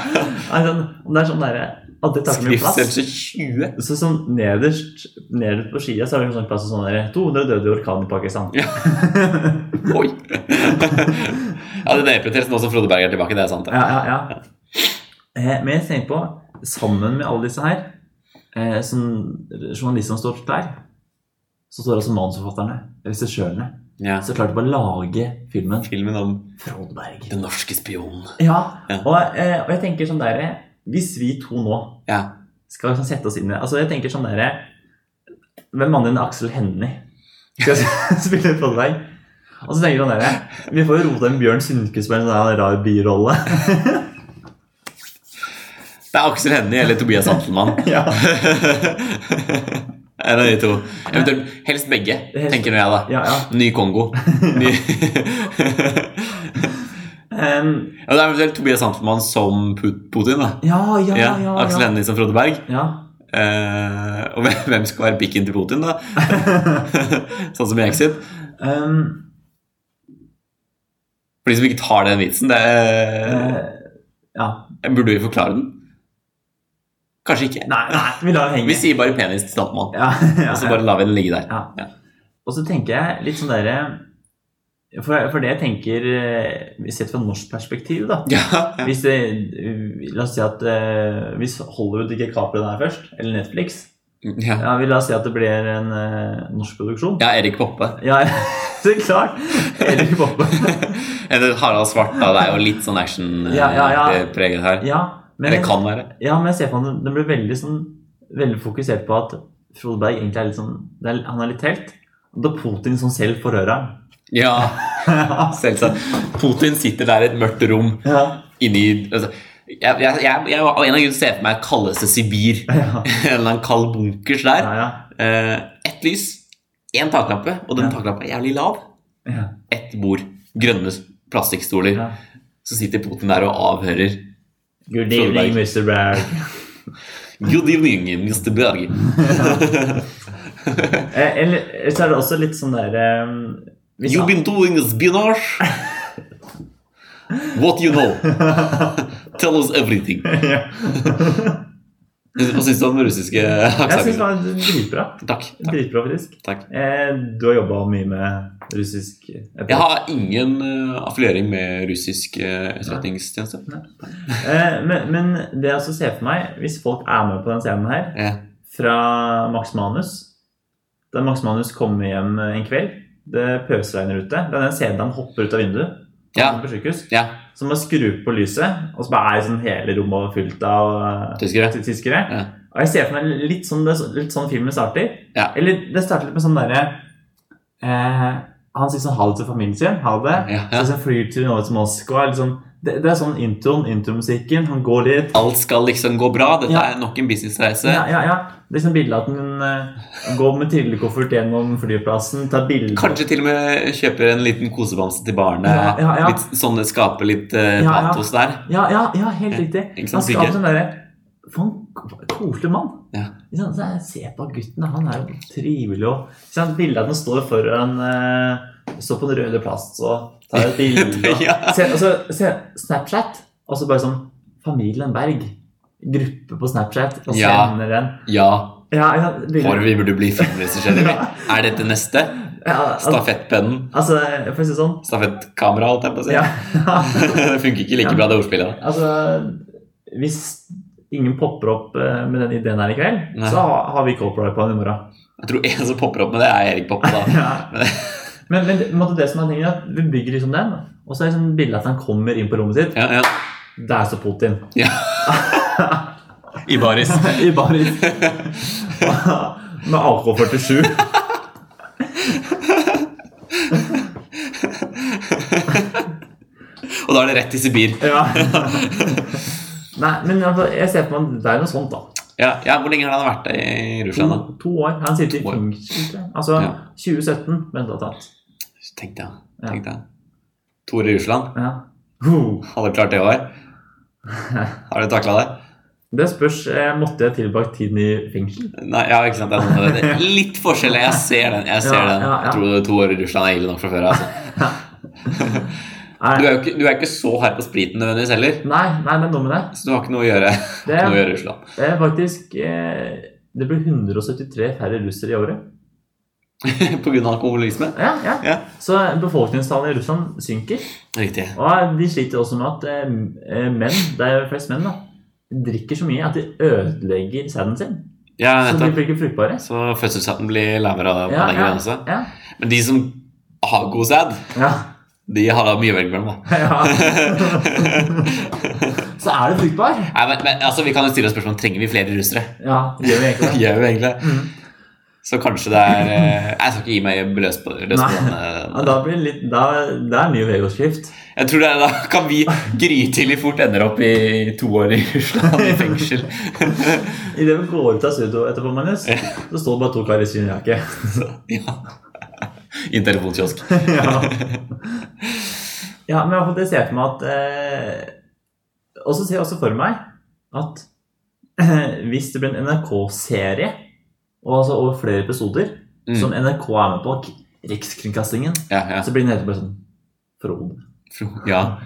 Speaker 2: altså, Om det er sånn derre At det tar så mye plass.
Speaker 1: Skriftstørrelse 20.
Speaker 2: Så sånn nederst, nederst på skia så er det en sånn plass sånn der, 200 døde i orkan i Pakistan.
Speaker 1: Ja. Oi! [laughs] ja, det nedprioriteres nå som Frode Berg er tilbake. Det er sant. det.
Speaker 2: Ja, ja, ja. Eh, men jeg tenker på, sammen med alle disse her, eh, som journalister som står der, så står altså manusforfatterne, regissørene,
Speaker 1: Ja.
Speaker 2: så klarte de bare å lage filmen
Speaker 1: Filmen om
Speaker 2: Frode Berg.
Speaker 1: den norske spionen.
Speaker 2: Ja,
Speaker 1: Ja.
Speaker 2: og, eh, og jeg tenker sånn der Hvis vi to nå
Speaker 1: Ja.
Speaker 2: skal liksom sette oss inn i Altså, jeg tenker sånn der Hvem mannen din er Aksel Hennie? Skal [laughs] jeg spille litt på deg? Og så tenker jeg sånn der Vi får jo rota en Bjørn Sundquist med en sånn der
Speaker 1: [laughs]
Speaker 2: rar birolle.
Speaker 1: Det er Aksel Hennie eller Tobias
Speaker 2: [laughs]
Speaker 1: Antelmann.
Speaker 2: ja.
Speaker 1: En av de to. Eventuelt helst begge,
Speaker 2: Helst-
Speaker 1: tenker nå jeg, da.
Speaker 2: ja, ja.
Speaker 1: Ny
Speaker 2: [laughs]
Speaker 1: Kongo. Ny... [laughs]
Speaker 2: Em,
Speaker 1: Ja, det er eventuelt Tobias Antelmann som Put- Putin. da
Speaker 2: ja, ja, ja,
Speaker 1: ja,
Speaker 2: ja,
Speaker 1: Aksel
Speaker 2: ja.
Speaker 1: Hennie som Frode Berg.
Speaker 2: ja. [laughs]
Speaker 1: Eh, og hvem, hvem skal være pikken til Putin, da? [laughs] sånn som i Exit.
Speaker 2: Em,
Speaker 1: For de som ikke tar den vitsen, det er,
Speaker 2: eh, ja.
Speaker 1: burde vi forklare den? Kanskje ikke.
Speaker 2: Nei, nei, vi lar den henge.
Speaker 1: Vi sier bare penis til Stampmann,
Speaker 2: ja, [laughs] ja,
Speaker 1: og så bare lar vi den ligge der. [laughs]
Speaker 2: Ja. Og så tenker jeg litt sånn derre for, for det jeg tenker eh, Sett fra norsk perspektiv, da.
Speaker 1: Ja, ja.
Speaker 2: Hvis det, eh, la oss si at eh, hvis Hollywood ikke kaprer den her først, eller Netflix
Speaker 1: ja.
Speaker 2: ja, vi La oss si at det blir en eh, norsk produksjon.
Speaker 1: ja Erik Poppe. [laughs]
Speaker 2: Ja, [laughs] så klart! Eller Boppe.
Speaker 1: Eller Harald Svart, da. Det er jo litt sånn action-preget
Speaker 2: Ja, ja, ja.
Speaker 1: her.
Speaker 2: Ja, men,
Speaker 1: Eller kan være.
Speaker 2: ja, men jeg ser på han, den blir veldig, sånn, veldig fokusert på at Frode Berg egentlig er litt sånn det er, Han er litt telt. Og da Putin som selv forhører [laughs] ham.
Speaker 1: Ja, selvsagt. Putin sitter der i et mørkt rom
Speaker 2: ja,
Speaker 1: inni altså, jeg, jeg, jeg, jeg, av en av grunnene ser jeg for meg kaldeste Sibir. [laughs]
Speaker 2: ja,
Speaker 1: En eller annen kald bunkers der.
Speaker 2: ja, ja,
Speaker 1: Eh, ett lys, én taklampe, og den
Speaker 2: Ja.
Speaker 1: taklampa er jævlig lav.
Speaker 2: ja,
Speaker 1: Ett bord, grønne s- plastikkstoler.
Speaker 2: ja.
Speaker 1: Så sitter Putin der og avhører.
Speaker 2: Good
Speaker 1: Frode
Speaker 2: evening, Mr. Berg.
Speaker 1: Good evening, Mr. Berg.
Speaker 2: Eh, Eller eller så er det også litt sånn der eh, hvis
Speaker 1: You've
Speaker 2: han-
Speaker 1: been doing spionage. What you
Speaker 2: [laughs]
Speaker 1: know? Tell us everything.
Speaker 2: Ja.
Speaker 1: Hva syns du om den russiske
Speaker 2: Jeg syns det
Speaker 1: aksenten?
Speaker 2: var dritbra.
Speaker 1: Takk. takk,
Speaker 2: Dritbra, faktisk.
Speaker 1: takk.
Speaker 2: Eh, Du har jobba mye med russisk etterretning.
Speaker 1: Jeg har ingen eh, affiliering med russisk eh, etterretningstjeneste.
Speaker 2: Eh, men, men det jeg også ser for meg, hvis folk er med på den scenen her,
Speaker 1: Ja.
Speaker 2: fra Max Manus Da Max Manus kommer hjem en kveld, det pøsregner ute Det er den scenen der han hopper ut av vinduet
Speaker 1: Ja.
Speaker 2: på sykehus,
Speaker 1: ja.
Speaker 2: så må jeg skru på lyset, og så bare er sånn hele rommet fullt av eh,
Speaker 1: Tyskere.
Speaker 2: tyskere.
Speaker 1: Ja.
Speaker 2: Og jeg ser for meg litt sånn, det, litt sånn filmen starter.
Speaker 1: Ja.
Speaker 2: Eller det starter litt med sånn derre eh, Han sier sånn ha det til familien sin. Ha det.
Speaker 1: Ja, ja.
Speaker 2: Så, så flyr til noe til Moskva. Litt sånn, det, det er sånn introen, intromusikken. Han går dit.
Speaker 1: Alt skal liksom gå bra. Dette
Speaker 2: Ja.
Speaker 1: er nok en businessreise.
Speaker 2: Ja, ja, ja. Det er sånn bilde at han eh, går med trillekoffert gjennom flyplassen, tar bilder
Speaker 1: Kanskje til og med kjøper en liten kosebamse til barnet.
Speaker 2: Ja, ja, ja.
Speaker 1: Litt sånn det skaper litt eh,
Speaker 2: Ja, ja.
Speaker 1: patos der.
Speaker 2: Ja, ja, ja helt riktig.
Speaker 1: ikke
Speaker 2: Han
Speaker 1: sant,
Speaker 2: skal
Speaker 1: bygge.
Speaker 2: den derre For en k- koselig mann.
Speaker 1: Ja.
Speaker 2: Ikke sant? Så jeg ser på gutten, han er jo trivelig og ikke sant? Bildet at han står foran eh, Står på den røde plass og tar et
Speaker 1: [laughs]
Speaker 2: bilde. og-
Speaker 1: Ja.
Speaker 2: se, og så- se, Snapchat, og så bare sånn Familien Berg. Gruppe på Snapchat, og
Speaker 1: Ja.
Speaker 2: sender den.
Speaker 1: Ja,
Speaker 2: Ja, ikke sant? Bildet-
Speaker 1: for vi burde bli
Speaker 2: [laughs]
Speaker 1: filmregissører. vi. Er dette neste?
Speaker 2: ja, altså,
Speaker 1: Stafettpennen?
Speaker 2: altså, for å si det sånn
Speaker 1: Stafettkamera, holdt jeg på å si. [laughs]
Speaker 2: ja.
Speaker 1: det funker ikke like bra, det ordspillet.
Speaker 2: Altså, hvis ingen popper opp eh, med den ideen her i kveld,
Speaker 1: Nei.
Speaker 2: så ha- har vi copyright på den
Speaker 1: [laughs]
Speaker 2: i morgen.
Speaker 1: Jeg tror en som popper opp med det, er Erik Poppe.
Speaker 2: [laughs]
Speaker 1: da.
Speaker 2: Men, men det, på en måte det som er tingen, er at vi bygger liksom den, og så er det sånn bilde at han kommer inn på rommet sitt.
Speaker 1: Ja, ja.
Speaker 2: Der står Putin. [laughs]
Speaker 1: I baris.
Speaker 2: I
Speaker 1: [laughs]
Speaker 2: baris. med AK-47.
Speaker 1: Og da er det rett til Sibir.
Speaker 2: Ja. Nei, men altså, jeg ser på meg, det er noe sånt, da.
Speaker 1: Ja, ja, Hvor lenge har han vært i
Speaker 2: To,
Speaker 1: Russland? da?
Speaker 2: to år. Han sitter i
Speaker 1: To år.
Speaker 2: fengsel. tror jeg. Altså
Speaker 1: Ja.
Speaker 2: 2017, vent og tatt.
Speaker 1: Tenkte jeg. tenkte jeg. Tore i Russland,
Speaker 2: Ja. Huh.
Speaker 1: hadde klart det
Speaker 2: [laughs]
Speaker 1: òg? Har du takla det?
Speaker 2: Det spørs. eh, Måtte jeg tilbrakt tiden i fengsel?
Speaker 1: Nei, ja, ikke sant. Det er noe- det er litt forskjell. Jeg ser den. Jeg ser
Speaker 2: Ja,
Speaker 1: den.
Speaker 2: ja, ja.
Speaker 1: Jeg tror to år i Russland er ille nok fra før.
Speaker 2: [laughs]
Speaker 1: Altså. Du
Speaker 2: Nei,
Speaker 1: er jo ikke, du er ikke så hard på spriten nødvendigvis heller,
Speaker 2: nei, nei det er noe med det.
Speaker 1: så du har ikke noe å gjøre,
Speaker 2: Det
Speaker 1: noe å
Speaker 2: er,
Speaker 1: gjøre i Russland. [laughs]
Speaker 2: det er faktisk eh, Det blir 173 færre russere i året.
Speaker 1: På grunn av alkoholisme?
Speaker 2: Ja, ja.
Speaker 1: Ja.
Speaker 2: Så befolkningstallet i Russland synker.
Speaker 1: Riktig.
Speaker 2: Og de sliter også med at eh, eh, menn, det er jo flest menn, da, drikker så mye at de ødelegger sæden sin.
Speaker 1: Ja,
Speaker 2: Så de
Speaker 1: nettopp.
Speaker 2: blir ikke fruktbare.
Speaker 1: Så fødselshatten blir lavere av
Speaker 2: Ja,
Speaker 1: den
Speaker 2: ja.
Speaker 1: grensa.
Speaker 2: Ja.
Speaker 1: Men de som har god sæd,
Speaker 2: ja. [laughs]
Speaker 1: de har da mye å velge mellom. da.
Speaker 2: ja. Så er du fruktbar.
Speaker 1: Nei, men, men altså, Vi kan jo stille oss spørsmål trenger vi flere russere. [laughs]
Speaker 2: Ja, det gjør vi egentlig det.
Speaker 1: Gjør vi egentlig det?
Speaker 2: Mm.
Speaker 1: Så kanskje det er eh, Jeg skal ikke gi meg løs på, løs på den.
Speaker 2: Ja,
Speaker 1: eh,
Speaker 2: da blir det litt, da, det er mye veigodsskift.
Speaker 1: Jeg tror det er, Da kan vi grytidlig fort ender opp i to år i Russland i fengsel.
Speaker 2: Idet vi går ut av studio etterpå, Magnus, så står det bare to karer i skinnjakke.
Speaker 1: Ja. I en telefonkiosk.
Speaker 2: ja. [laughs] ja, men i hvert fall det ser jeg for meg at eh, Og så ser jeg også for meg at [clears throat] eh, hvis det blir en NRK-serie, og altså over flere episoder,
Speaker 1: Mm.
Speaker 2: som NRK er med på, k- Rikskringkastingen,
Speaker 1: Ja, ja.
Speaker 2: så blir den helt bare sånn
Speaker 1: [laughs]
Speaker 2: Frode.
Speaker 1: Fro- ja.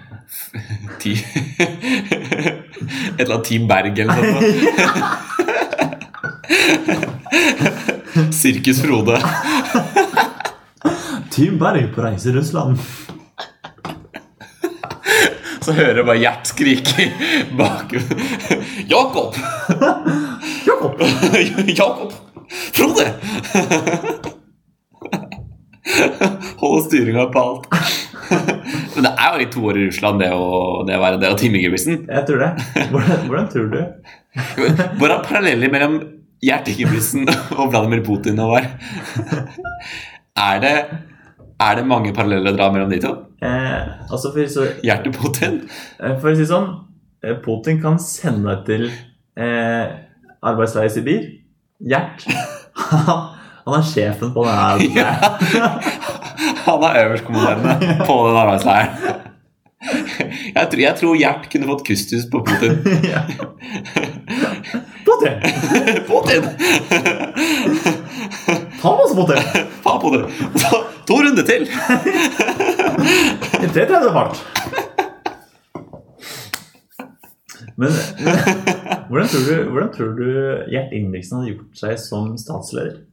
Speaker 1: Ti. Et eller annet Team Berg eller noe sånt. Sirkus Frode.
Speaker 2: Team Berg på reise i Russland.
Speaker 1: Så hører jeg bare Gjert skrike bak Jakob!
Speaker 2: Jakob!
Speaker 1: [laughs] Jakob! Frode! [laughs] Holde styringa på alt. [laughs] Men det er jo litt to år i Russland, det å, det å være det og Timmy Ingebrigtsen.
Speaker 2: Jeg tror det. Hvordan, hvordan tror du?
Speaker 1: Hvor er paralleller mellom Gjert Ingebrigtsen [laughs] og Vladimir Putin nå var? [laughs] Er det, er det mange paralleller å dra mellom de to?
Speaker 2: Eh, altså, for så
Speaker 1: Gjert og Putin? [laughs]
Speaker 2: Eh, For å si det sånn, eh, Putin kan sende deg til eh, arbeidsleir i Sibir. Gjert. [laughs] Han er sjefen på denne arbeidsleiren.
Speaker 1: [laughs] Han er øverstkommanderende på den arbeidsleiren. [laughs] Jeg tror, jeg tror Gjert kunne fått kustus på Putin.
Speaker 2: Ja. Putin!
Speaker 1: [laughs] Putin!
Speaker 2: Ta med oss, Putin!
Speaker 1: Faen, Putin! Så, to runder til! [laughs]
Speaker 2: I 330 fart. Men, [laughs] men hvordan, tror du, hvordan tror du Gjert Ingebrigtsen hadde gjort seg som statsleder?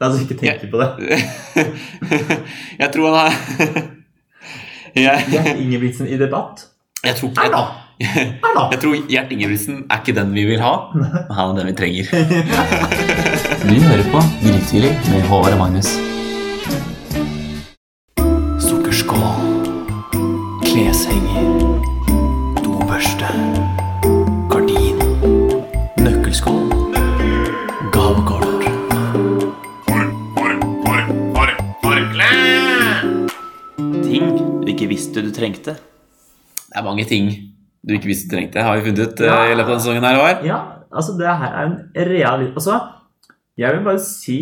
Speaker 2: La oss ikke tenke på det.
Speaker 1: Jeg tror han har [laughs] jeg,
Speaker 2: Gjert Ingebrigtsen i debatt?
Speaker 1: jeg, tror,
Speaker 2: Er da!
Speaker 1: jeg,
Speaker 2: Er da!
Speaker 1: jeg tror Gjert Ingebrigtsen er ikke den vi vil ha, men han er den vi trenger.
Speaker 2: Du hører på Grytidlig med Håvard og Magnus.
Speaker 3: Sukkerskål. Kleshenger. Dobørste. Gardin. Nøkkelskål. Gavekort. Ting du ikke visste du trengte.
Speaker 1: Det er mange ting du ikke visste du trengte, har vi funnet ut eh,
Speaker 2: Ja.
Speaker 1: i løpet av denne sesongen her i år.
Speaker 2: Ja, altså det her er en real Altså, jeg vil bare si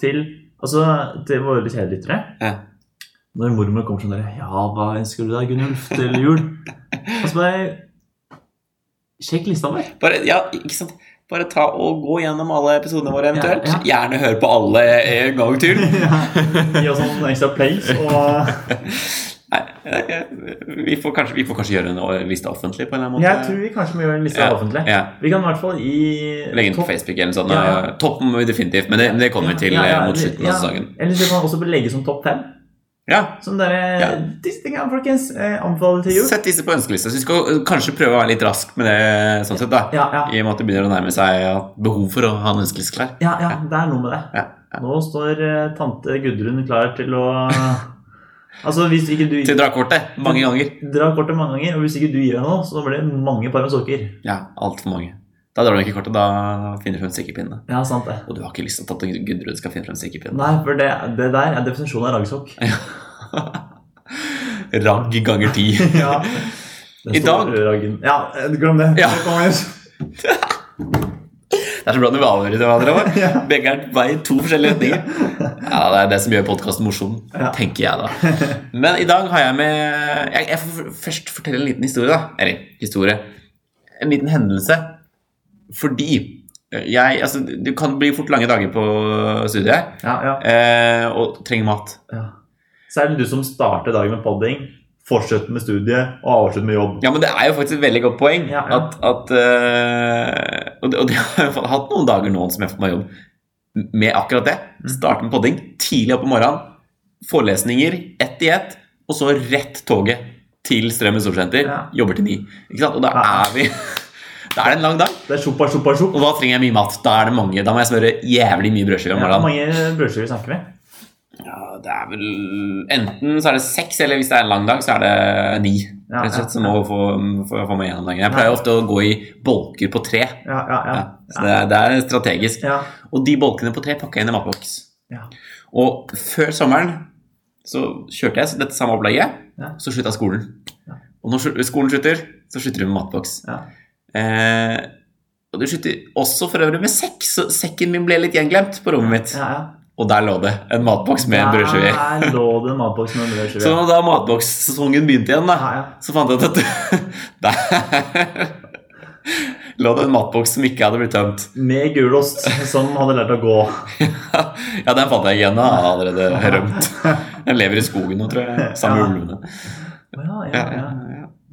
Speaker 2: til Altså, til våre kjære lyttere
Speaker 1: Ja.
Speaker 2: Når mormor kommer sånn der Ja, hva ønsker du deg, Gunnulf, til jul? Altså bare Sjekk
Speaker 1: [laughs]
Speaker 2: lista vår.
Speaker 1: Bare, ja, ikke sant? Bare ta og gå gjennom alle episodene våre eventuelt.
Speaker 2: Ja,
Speaker 1: Gjerne hør på alle eh, en gang til.
Speaker 2: Gi oss noen ekstra plays og
Speaker 1: Nei, eh, vi får kanskje, vi får kanskje gjøre en eh, liste offentlig på en eller annen måte.
Speaker 2: Jeg tror vi kanskje må gjøre en liste
Speaker 1: Ja,
Speaker 2: offentlig.
Speaker 1: ja.
Speaker 2: Vi kan i hvert fall i
Speaker 1: Legge den på
Speaker 2: topp-
Speaker 1: Facebook eller noe sånt.
Speaker 2: Ja.
Speaker 1: eh, Topp må vi definitivt, men det, men det kommer vi til
Speaker 2: Ja, ja,
Speaker 1: eh, mot
Speaker 2: eller-
Speaker 1: slutten av sesongen.
Speaker 2: Ja. Eller så kan man også legge som topp fem.
Speaker 1: Ja,
Speaker 2: Som dere
Speaker 1: Ja.
Speaker 2: Disse tingene, folkens, eh, anbefaler til jul.
Speaker 1: Sett disse på ønskelista. Så vi skal eh, kanskje prøve å være litt rask med det sånn sett, da.
Speaker 2: Ja, ja.
Speaker 1: I og med at det begynner å nærme seg ja, behov for å ha en ønskeliste klar.
Speaker 2: Ja, ja, det er noe med det.
Speaker 1: Ja,
Speaker 2: Nå står eh, tante Gudrun klar til å [laughs] Altså, hvis ikke du
Speaker 1: Til drakortet. Mange
Speaker 2: Mm.
Speaker 1: ganger.
Speaker 2: drar kortet mange ganger, og hvis ikke du gir henne noe, så blir det mange par med sokker.
Speaker 1: Ja, altfor mange. Da drar du ikke kortet. Da finner du frem strikkepinnene.
Speaker 2: Ja, sant det.
Speaker 1: Og du har ikke lyst til at tante Gudrun skal finne frem strikkepinnen.
Speaker 2: Nei, for det, det der er definisjonen av raggsokk.
Speaker 1: [laughs] Ragg ganger ti.
Speaker 2: Ja. [laughs]
Speaker 1: I
Speaker 2: I
Speaker 1: dag-
Speaker 2: Raggen. Ja, eh, glem det.
Speaker 1: Ja.
Speaker 2: Kom igjen.
Speaker 1: Det er så bra når vi avhører hverandre òg.
Speaker 2: [laughs] Ja.
Speaker 1: Begge er på vei i to forskjellige retninger. Ja, Det er det som gjør podkasten morsom,
Speaker 2: Ja.
Speaker 1: tenker
Speaker 2: [laughs]
Speaker 1: jeg da. Men i dag har jeg med Jeg, jeg får først fortelle en liten historie, da. Eller historie. En liten hendelse. Fordi jeg Altså, det kan bli fort lange dager på studiet
Speaker 2: Ja, ja,
Speaker 1: eh, og trenger mat.
Speaker 2: ja. Så er det du som starter dagen med podding, fortsetter med studiet og avslutter med jobb.
Speaker 1: Ja, men det er jo faktisk et veldig godt poeng.
Speaker 2: Ja, ja.
Speaker 1: At, at eh, og, det, og det har jeg fått- hatt noen dager nå som jeg har fått meg jobb med akkurat det.
Speaker 2: Mm.
Speaker 1: Starte med podding tidlig opp om morgenen. Forelesninger ett i ett, og så rett toget til Strømmen storsenter.
Speaker 2: Ja.
Speaker 1: Jobber til ni. Ikke sant? Og da
Speaker 2: Ja.
Speaker 1: er vi [laughs] Da er det en lang dag,
Speaker 2: Det er sjoppa, sjoppa, sjopp.
Speaker 1: og da trenger jeg mye mat. Da er det mange. Da må jeg smøre jævlig mye brødskiver om
Speaker 2: Ja, hvor
Speaker 1: morgenen.
Speaker 2: mange brødskiver snakker vi?
Speaker 1: Ja, det er vel Enten så er det seks, eller hvis det er en lang dag, så er det ni.
Speaker 2: Ja,
Speaker 1: rett og slett,
Speaker 2: ja,
Speaker 1: som må få, få, få meg gjennom dagen. Jeg pleier ofte å gå i bolker på tre.
Speaker 2: Ja, ja, ja.
Speaker 1: Ja, så det, er- det er strategisk.
Speaker 2: ja.
Speaker 1: Og de bolkene på tre pakker jeg inn i matboks.
Speaker 2: Ja.
Speaker 1: Og før sommeren så kjørte jeg dette samme opplegget,
Speaker 2: Ja.
Speaker 1: så slutta skolen.
Speaker 2: Ja.
Speaker 1: Og når slu- skolen slutter, så slutter du med matboks.
Speaker 2: Ja.
Speaker 1: Eh, og du slutter også for øvrig med sekk, så sekken min ble litt gjenglemt på rommet mitt.
Speaker 2: ja, ja.
Speaker 1: Og der lå det en matboks med Sånn. brødskiver.
Speaker 2: Der lå det en matboks med brødskiver.
Speaker 1: Så da matbokssesongen begynte igjen, da,
Speaker 2: Ja, ja.
Speaker 1: så fant jeg ut at [laughs] der lå det en matboks som ikke hadde blitt tømt. [laughs]
Speaker 2: Med gulost, som hadde lært å gå.
Speaker 1: Ja, den fant jeg igjen. da. Jeg hadde allerede rømt. Den lever i skogen nå, tror jeg. Sammen med ulvene.
Speaker 2: Å Ja, ja,
Speaker 1: Ja,
Speaker 2: ja.
Speaker 1: ja,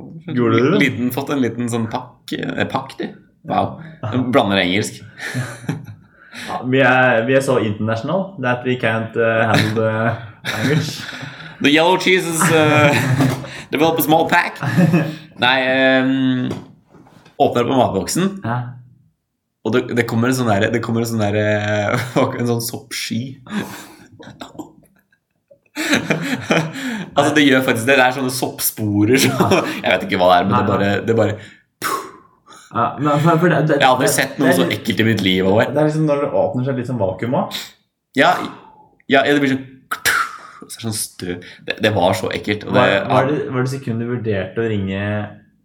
Speaker 1: ja.
Speaker 2: Gjorde du det?
Speaker 1: Liten, fått en liten sånn pakk. eh, Pakk, du. Wow. Jeg Blander engelsk.
Speaker 2: Ja, vi, er, vi er så international that we can't uh, handle the language.
Speaker 1: The yellow cheese is [laughs] uh, develop a small pack. Nei eh, Åpner opp matboksen.
Speaker 2: Ja.
Speaker 1: Og det, det kommer en sånn der, det kommer en sånn der eh, [laughs] En sånn soppsky. altså, det gjør faktisk det. Det er sånne soppsporer som [laughs] Jeg vet ikke hva det er, men det bare, det bare
Speaker 2: Ja, men for, for det, det,
Speaker 1: Jeg har aldri sett noe så ekkelt i mitt liv. Over.
Speaker 2: Det er liksom når det åpner seg litt sånn vakuum òg.
Speaker 1: Ja, ja, det blir sånn så er det sånn støv det, det var så ekkelt. Og det,
Speaker 2: Var, var, det- var det sekundet du vurderte å ringe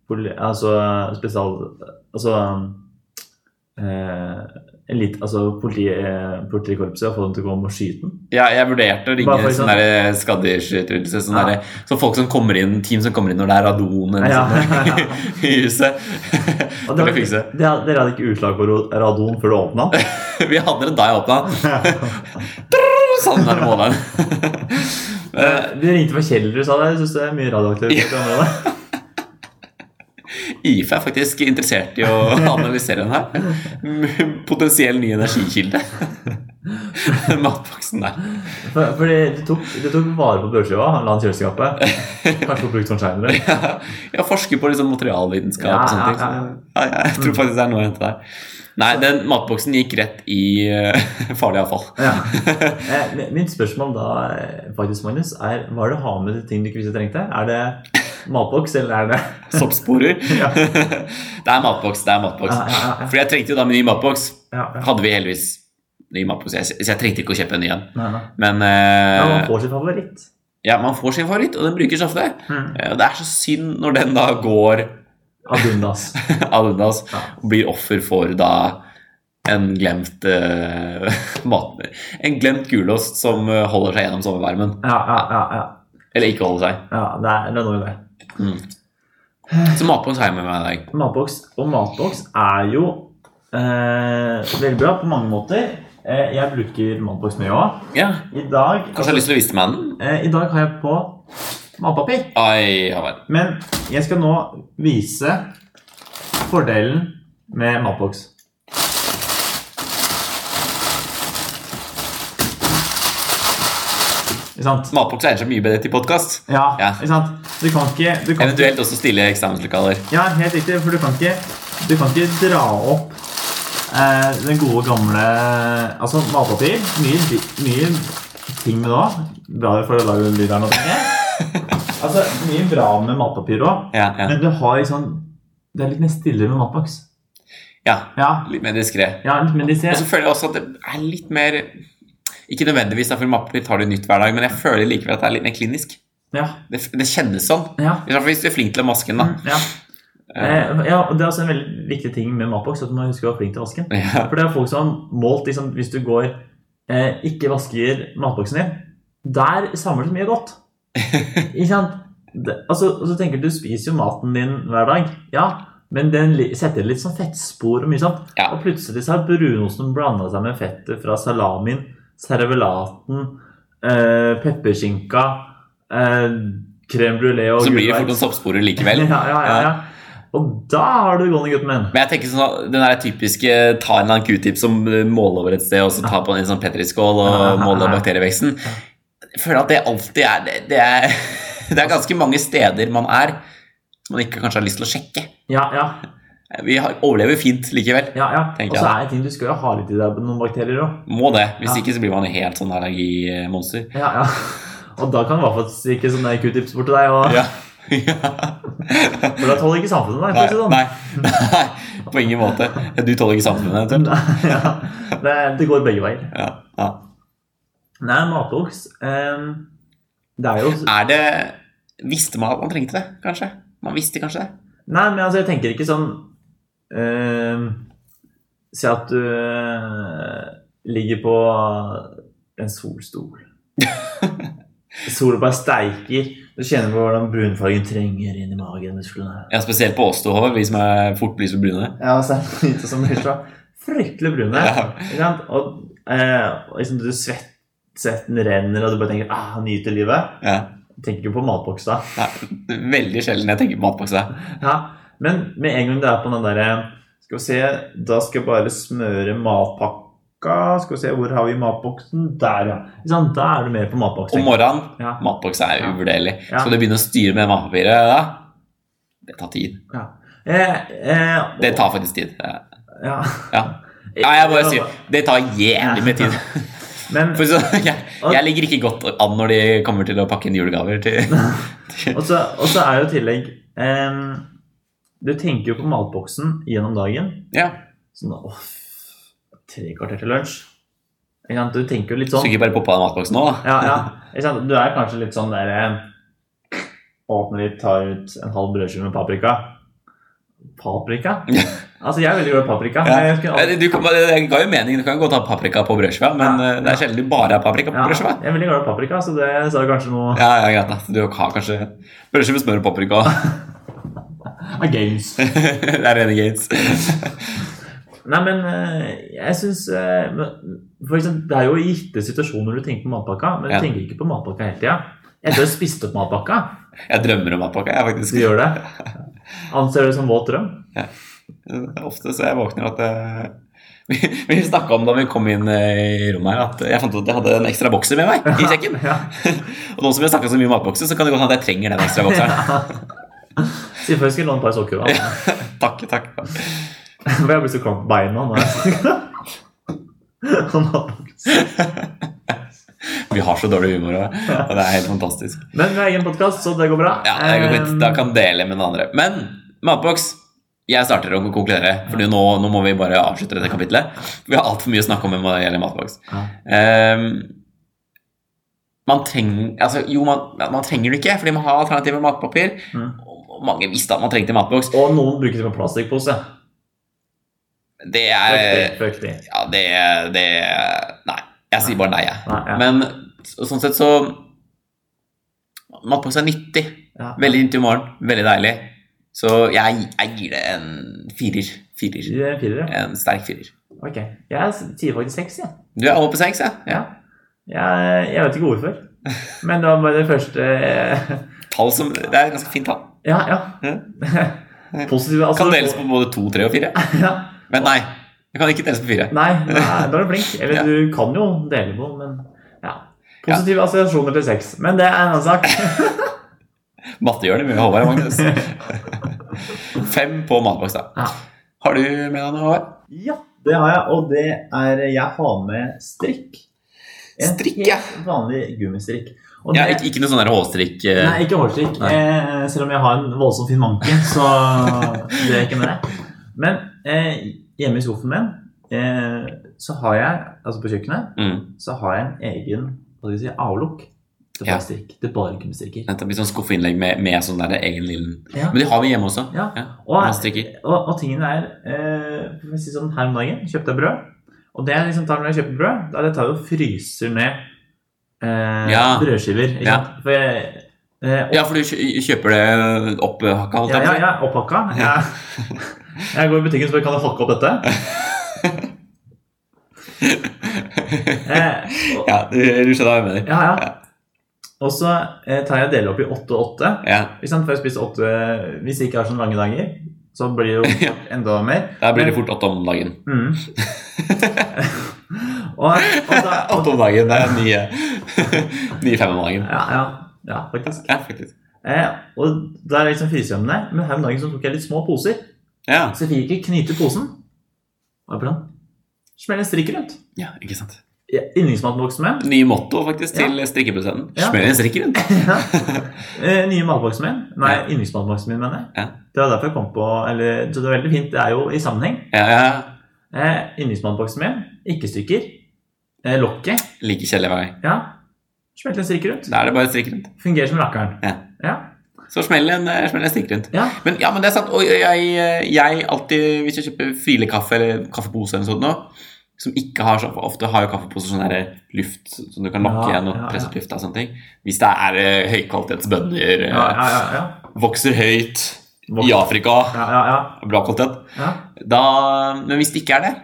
Speaker 2: poli... Altså spesial... Altså eh, elit, altså politi, eh, politikorpset og få dem til å komme og skyte den?
Speaker 1: ja, jeg vurderte å ringe
Speaker 2: Bare for
Speaker 1: sånn der skaddyrsutryddelse. Sånn
Speaker 2: Ja.
Speaker 1: der- så folk som kommer inn, team som kommer inn når det er radon eller
Speaker 2: Ja.
Speaker 1: sånt [laughs] i huset. [laughs]
Speaker 2: Og
Speaker 1: Kan vi
Speaker 2: det var-
Speaker 1: fikse?
Speaker 2: det hadde- Dere hadde ikke utslag på ro- radon før du åpna? [laughs]
Speaker 1: [laughs] Vi hadde det da jeg åpna. Sånn er det måneden. Eh,
Speaker 2: Du ringte fra Kjeller og sa det. Jeg syns det er mye radioaktivitet i området.
Speaker 1: [laughs]
Speaker 2: [laughs]
Speaker 1: IFE er faktisk
Speaker 2: [laughs]
Speaker 1: interessert i å analysere den her. Potensiell ny energikilde. [laughs] Matboksen der. [laughs]
Speaker 2: For, fordi du tok, du tok vare på brødskiva, han la den i [laughs] kjøleskapet. Kanskje hun brukte den seinere.
Speaker 1: Jeg forsker på liksom materialvitenskap
Speaker 2: Ja,
Speaker 1: og sånne
Speaker 2: ja,
Speaker 1: ting. så-
Speaker 2: ja, Mm. ja.
Speaker 1: Nei, jeg tror faktisk det er noe å hente der. Nei, den matboksen gikk rett i eh, [laughs] farlig avfall.
Speaker 2: Ja. Eh, mi- Mitt spørsmål da, eh, faktisk, Magnus, er hva er det du har med til ting du ikke visste du trengte? Er det matboks, eller er det
Speaker 1: Soppsporer.
Speaker 2: [laughs] Ja.
Speaker 1: [laughs] Det er matboks, det er matboks.
Speaker 2: Ja, ja, ja.
Speaker 1: Fordi jeg trengte jo da min ny matboks.
Speaker 2: ja, ja.
Speaker 1: Hadde vi heldigvis ny matboks, jeg- så jeg trengte ikke å kjøpe en ny en.
Speaker 2: Nei, nei.
Speaker 1: Men
Speaker 2: Ja,
Speaker 1: eh,
Speaker 2: man får sin favoritt.
Speaker 1: ja, man får sin favoritt, og den brukes ofte.
Speaker 2: Mm.
Speaker 1: Eh, Og det er så synd når den da går [laughs]
Speaker 2: Ad undas.
Speaker 1: ad undas
Speaker 2: Ja.
Speaker 1: og blir offer for da en glemt eh, [laughs] mat... En glemt gulost som eh, holder seg gjennom sommervarmen.
Speaker 2: Ja, ja, ja. ja.
Speaker 1: Eller ikke holder seg. Mm.
Speaker 2: ja det er det er noe med det.
Speaker 1: Så matboks har jeg med meg i dag.
Speaker 2: Matboks og matboks er jo eh, veldig bra på mange måter. Eh, jeg bruker matboks mye òg.
Speaker 1: Ja,
Speaker 2: I dag,
Speaker 1: Kanskje jeg har lyst til å vise til meg den?
Speaker 2: eh, I dag har jeg på matpapir.
Speaker 1: Ai, ja vel.
Speaker 2: Men jeg skal nå vise fordelen med matboks. Ikke sant?
Speaker 1: Matboks egner seg mye bedre til podkast.
Speaker 2: Ja,
Speaker 1: Ja.
Speaker 2: ikke sant? Du kan ikke, du kan ikke
Speaker 1: Eventuelt også stille eksamenslokaler.
Speaker 2: Ja, helt riktig, for du kan ikke, du kan ikke dra opp eh, den gode gamle Altså, matpapir. Mye, dri- mye ting med det òg. Bra for å lage lyd her nå. tenker jeg. Altså, mye bra med matpapir òg,
Speaker 1: Ja, ja.
Speaker 2: men du har liksom Det er litt mer stille med matboks.
Speaker 1: ja
Speaker 2: Ja,
Speaker 1: Litt mer diskré.
Speaker 2: ja litt mer
Speaker 1: Og så
Speaker 2: diskré.
Speaker 1: føler jeg også at det er litt mer Ikke nødvendigvis, da, for matpapir tar du nytt hver dag, men jeg føler likevel at det er litt mer klinisk.
Speaker 2: Ja,
Speaker 1: Det, det kjennes sånn.
Speaker 2: ja, mm,
Speaker 1: I hvert fall Hvis du er flink til å maske den, da.
Speaker 2: ja. Eh, ja, og Det er også en veldig viktig ting med matboks, at man husker å være flink til å vaske den.
Speaker 1: Ja,
Speaker 2: For det er folk som har målt liksom, Hvis du går eh, ikke vasker matboksen din, der samler det så
Speaker 1: [laughs]
Speaker 2: mye godt. Ikke sant? Det, altså, og så tenker du, du spiser jo maten din hver dag. Ja, men den li- setter litt sånn fettspor og mye sånt.
Speaker 1: Ja.
Speaker 2: Og plutselig så har brunosten blanda seg med fettet fra salamin, servelaten, eh, pepperskinka, eh, crème brulé og
Speaker 1: så blir det
Speaker 2: gulrot.
Speaker 1: fort noen soppsporer likevel.
Speaker 2: [laughs] Ja, ja, ja, ja. Og da har du gående gutten min.
Speaker 1: Men jeg tenker sånn at den der typiske ta en eller annen q-tip som eh, måler over et sted, og så ta på den i en sånn petriskål og måle bakterieveksten. Jeg føler at det alltid er det, det er [laughs] det er ganske mange steder man er som man ikke kanskje har lyst til å sjekke.
Speaker 2: Ja, ja.
Speaker 1: Vi har, overlever fint likevel.
Speaker 2: Ja, ja.
Speaker 1: Tenker
Speaker 2: Og så
Speaker 1: jeg.
Speaker 2: er det ting du skal jo ha litt i deg noen bakterier òg.
Speaker 1: Må det. Hvis
Speaker 2: Ja.
Speaker 1: ikke så blir man helt sånn allergimonster.
Speaker 2: Ja,
Speaker 1: [laughs]
Speaker 2: ja. Og da kan du i hvert fall stikke sånne q-tips bort til deg. Og,
Speaker 1: Ja. [laughs] Ja.
Speaker 2: For da tåler ikke samfunnet deg.
Speaker 1: Nei,
Speaker 2: for å si det sånn.
Speaker 1: nei, nei, på ingen måte. Du tåler ikke samfunnet, eventuelt.
Speaker 2: Nei, [laughs] ja. det, det går begge veier.
Speaker 1: Ja. Ja.
Speaker 2: Nei, matboks ehm, Det er jo
Speaker 1: Er det Visste man at man trengte det, kanskje? Man visste kanskje det?
Speaker 2: Nei, men altså, jeg tenker ikke sånn ehm, Si at du eh, ligger på en
Speaker 1: [laughs]
Speaker 2: solstol. Sola bare steiker. Du kjenner på hvordan brunfargen trenger inn i magen. musklene.
Speaker 1: Ja, Spesielt på oss to, Håvard, vi som er fort blir så brune.
Speaker 2: Ja, og så er det [laughs] lite som blir så fryktelig brune.
Speaker 1: Ja.
Speaker 2: Ikke sant? Og, eh, og liksom du svett, svetten renner, og du bare tenker ah, nyter livet.
Speaker 1: Ja.
Speaker 2: Tenker ikke på matboks da. [laughs]
Speaker 1: Nei, veldig sjelden jeg tenker på matbokse.
Speaker 2: Ja. Men med en gang det er på den derre Skal vi se, da skal jeg bare smøre matpakka. Skal vi se, hvor har vi matboksen? Der, ja. Ikke sant? Da er du mer på matboks.
Speaker 1: Om
Speaker 2: tenker jeg.
Speaker 1: morgenen
Speaker 2: Ja.
Speaker 1: Matbokse er
Speaker 2: Ja.
Speaker 1: uvurderlig.
Speaker 2: Ja.
Speaker 1: Skal du begynne å styre med matpapiret da? Det tar tid.
Speaker 2: Eh, eh, og-
Speaker 1: Det tar faktisk tid. Ja.
Speaker 2: ja.
Speaker 1: Ja. Nei, jeg bare sier Det tar jævlig med tid.
Speaker 2: [laughs] Men
Speaker 1: For så, [laughs] jeg, jeg ligger ikke godt an når de kommer til å pakke inn julegaver til [laughs]
Speaker 2: Og så, og så er jo i tillegg em, Du tenker jo på matboksen gjennom dagen.
Speaker 1: Ja.
Speaker 2: Sånn åh, tre kvarter til lunsj. Ikke sant? Du tenker jo litt
Speaker 1: Så
Speaker 2: sånn.
Speaker 1: ikke bare poppa den matboksen nå, da.
Speaker 2: Ja, ja. Ikke sant? Du er kanskje litt sånn der eh, Åpner litt, tar ut en halv brødskive med paprika. Paprika?
Speaker 1: [laughs] Ja.
Speaker 2: Altså, jeg er veldig glad i paprika.
Speaker 1: Ja.
Speaker 2: men jeg skulle
Speaker 1: Ja,
Speaker 2: aldri-
Speaker 1: det- Eh, Du, kan- det ga jo mening. Du kan godt ha paprika på brødskiva, men
Speaker 2: Ja.
Speaker 1: eh, det er sjelden du bare har paprika på
Speaker 2: Ja,
Speaker 1: brødskiva.
Speaker 2: jeg er veldig glad i paprika, så det sa kanskje noe
Speaker 1: Ja, ja, greit da. Du har kanskje brødskive med smør og paprika.
Speaker 2: [laughs] av games.
Speaker 1: det er rene gates.
Speaker 2: Nei, men eh, jeg syns For eksempel, det er jo gitte situasjoner du tenker på matpakka, men du
Speaker 1: Ja.
Speaker 2: tenker ikke på matpakka hele tida. Etter å ha spist opp matpakka,
Speaker 1: Jeg drømmer om matpakke, jeg
Speaker 2: så
Speaker 1: faktisk.
Speaker 2: gjør
Speaker 1: [laughs]
Speaker 2: det. Anser det som våt drøm.
Speaker 1: Ofte så jeg våkner at eh, [laughs] Vi, vi snakka om da vi kom inn eh, i rommet her, at jeg fant ut at jeg hadde en ekstra bokser med meg i sekken.
Speaker 2: Ja.
Speaker 1: [laughs] Og nå som vi har snakka så mye om matbokser, så kan det godt hende at jeg trenger den ekstra
Speaker 2: [laughs]
Speaker 1: bokseren.
Speaker 2: Si før jeg skulle låne et par sokker av
Speaker 1: [laughs]
Speaker 2: ham.
Speaker 1: Takk, takk.
Speaker 2: For jeg blir så klam på beina
Speaker 1: [laughs]
Speaker 2: Sånn nå. Han hadde-
Speaker 1: Vi har så dårlig humor, og og det er helt fantastisk.
Speaker 2: Men vi har egen podkast, så det går bra.
Speaker 1: Ja, det går fint. Da kan dele med den andre. Men matboks jeg starter å konkludere, for nå, nå må vi bare avslutte dette kapitlet. Vi har altfor mye å snakke om når det gjelder matboks.
Speaker 2: Um, Ja.
Speaker 1: Ehm, man trenger altså, Jo, man, man trenger det ikke, fordi man har alternativer matpapir.
Speaker 2: Mm.
Speaker 1: Og mange visste at man trengte matboks.
Speaker 2: Og noen bruker det på plastikkpose.
Speaker 1: Det er
Speaker 2: Fryktig. fryktig.
Speaker 1: Ja, det, det Nei. Jeg sier bare nei, jeg.
Speaker 2: Nei, ja.
Speaker 1: Men så, sånn sett så Matboks er nyttig.
Speaker 2: Ja.
Speaker 1: Veldig nyttig i morgen. Veldig deilig. Så jeg, jeg gir det en firer. Firer.
Speaker 2: Gir det en firer, ja.
Speaker 1: En sterk firer.
Speaker 2: Ok. Jeg sier faktisk seks, jeg.
Speaker 1: Du er over på seks, jeg. Ja.
Speaker 2: Jeg, jeg vet ikke hvorfor.
Speaker 1: [laughs]
Speaker 2: Men det var bare det første [laughs]
Speaker 1: Tall som, det er et ganske fint tall.
Speaker 2: Ja, ja. [laughs] Positive altså,
Speaker 1: Kan deles på både to, tre og fire.
Speaker 2: [laughs] Ja.
Speaker 1: Men nei, det kan ikke deles på fire.
Speaker 2: Nei, da er da er du flink. Eller
Speaker 1: Ja.
Speaker 2: du kan jo dele på, men ja. Positive assosiasjoner til sex. Men det er en annen sak.
Speaker 1: Matte gjør det mye, Håvard og Magnus. [laughs] Fem på matboks, da.
Speaker 2: Ja.
Speaker 1: Har du med deg noe, Håvard?
Speaker 2: [laughs] Ja, det har jeg, og det er Jeg har med strikk. En
Speaker 1: Strikk,
Speaker 2: helt
Speaker 1: ja.
Speaker 2: Vanlig gummistrikk. Og
Speaker 1: Ja,
Speaker 2: det-
Speaker 1: ikke, ikke noe sånn der hårstrikk eh,
Speaker 2: Nei, ikke hårstrikk.
Speaker 1: Nei.
Speaker 2: Eh, selv om jeg har en voldsomt fin manke, så det er ikke med det. Men eh, hjemme i skuffen min, eh, så har jeg, altså på kjøkkenet,
Speaker 1: mm,
Speaker 2: så har jeg en egen hva skal jeg si, avlukk. Det er
Speaker 1: Ja.
Speaker 2: bare strikk. Det er bare gummistrikker.
Speaker 1: nettopp, Litt sånn skuffeinnlegg med, med sånn der egen lille
Speaker 2: Ja.
Speaker 1: Men de har vi hjemme også.
Speaker 2: Ja.
Speaker 1: Ja.
Speaker 2: Og,
Speaker 1: Man strikker.
Speaker 2: og, og tingene er eh, for å si sånn, Her om dagen kjøpte jeg brød. Og det jeg liksom tar når jeg kjøper brød, da er det jeg tar jeg og fryser ned eh,
Speaker 1: Ja.
Speaker 2: brødskiver. Ikke
Speaker 1: Ja.
Speaker 2: sant? For jeg, eh,
Speaker 1: Ja, for du kjø- kjøper det opphakka, holdt
Speaker 2: Ja,
Speaker 1: jeg på
Speaker 2: ja,
Speaker 1: å si.
Speaker 2: ja, opphakka. Jeg,
Speaker 1: [laughs]
Speaker 2: jeg går i butikken og spør kan jeg hakke opp dette. Eh,
Speaker 1: [laughs]
Speaker 2: og-
Speaker 1: Ja, du, du skjønner hva jeg mener.
Speaker 2: ja, ja. Og så eh, tar jeg og deler opp i åtte og åtte.
Speaker 1: Ja,
Speaker 2: Ikke sant? For jeg spiser åtte hvis jeg ikke har sånne lange dager. Så blir det
Speaker 1: [laughs]
Speaker 2: jo enda mer.
Speaker 1: Da blir det fort åtte om dagen. [laughs]
Speaker 2: Mm. og, og da, og,
Speaker 1: Åtte om dagen, [laughs] det er nye, nye fem om dagen.
Speaker 2: ja, ja, ja, faktisk.
Speaker 1: Ja, faktisk.
Speaker 2: Eh, og da er liksom frysehjemmen der. Men her om dagen så tok jeg litt små poser.
Speaker 1: Ja,
Speaker 2: Så jeg fikk ikke knyte posen. Hva er planen? Smell en strikk rundt.
Speaker 1: ja ikke sant.
Speaker 2: Ja,
Speaker 1: [laughs]
Speaker 2: Yndlingsmatboksen min.
Speaker 1: Nye motto faktisk til strikkeprodusenten.
Speaker 2: Ja.
Speaker 1: Smør en strikk rundt. [laughs]
Speaker 2: Ja. Eh, Nye matboksen min. Nei,
Speaker 1: Ja.
Speaker 2: yndlingsmatboksen min, mener jeg.
Speaker 1: Ja.
Speaker 2: Det var derfor jeg kom på eller, Så det er veldig fint. Det er jo i sammenheng.
Speaker 1: Ja, ja.
Speaker 2: Eh, yndlingsmatboksen min. Ikke stykker. Eh, lokket.
Speaker 1: Like kjedelig hver gang.
Speaker 2: Ja. Smelt en strikk rundt.
Speaker 1: Da er det bare strikk rundt.
Speaker 2: Fungerer som rakkeren.
Speaker 1: Ja.
Speaker 2: Ja.
Speaker 1: Så smell en, eh, smell en strikk rundt.
Speaker 2: Ja.
Speaker 1: Men, ja, men det er sant. Og jeg, jeg alltid, hvis jeg kjøper filekaffe eller kaffepose eller sånt nå, som ikke har så ofte har jo kaffeposer sånn der luft som du kan lokke
Speaker 2: Ja,
Speaker 1: igjen og
Speaker 2: ja,
Speaker 1: presse ut
Speaker 2: ja.
Speaker 1: lufta og sånne ting. Hvis det er eh, høykvalitetsbønner, eh,
Speaker 2: Ja, ja, ja, ja.
Speaker 1: vokser høyt
Speaker 2: Vok-
Speaker 1: i Afrika,
Speaker 2: Ja, ja, ja.
Speaker 1: bra kvalitet,
Speaker 2: ja,
Speaker 1: da Men hvis det ikke er det,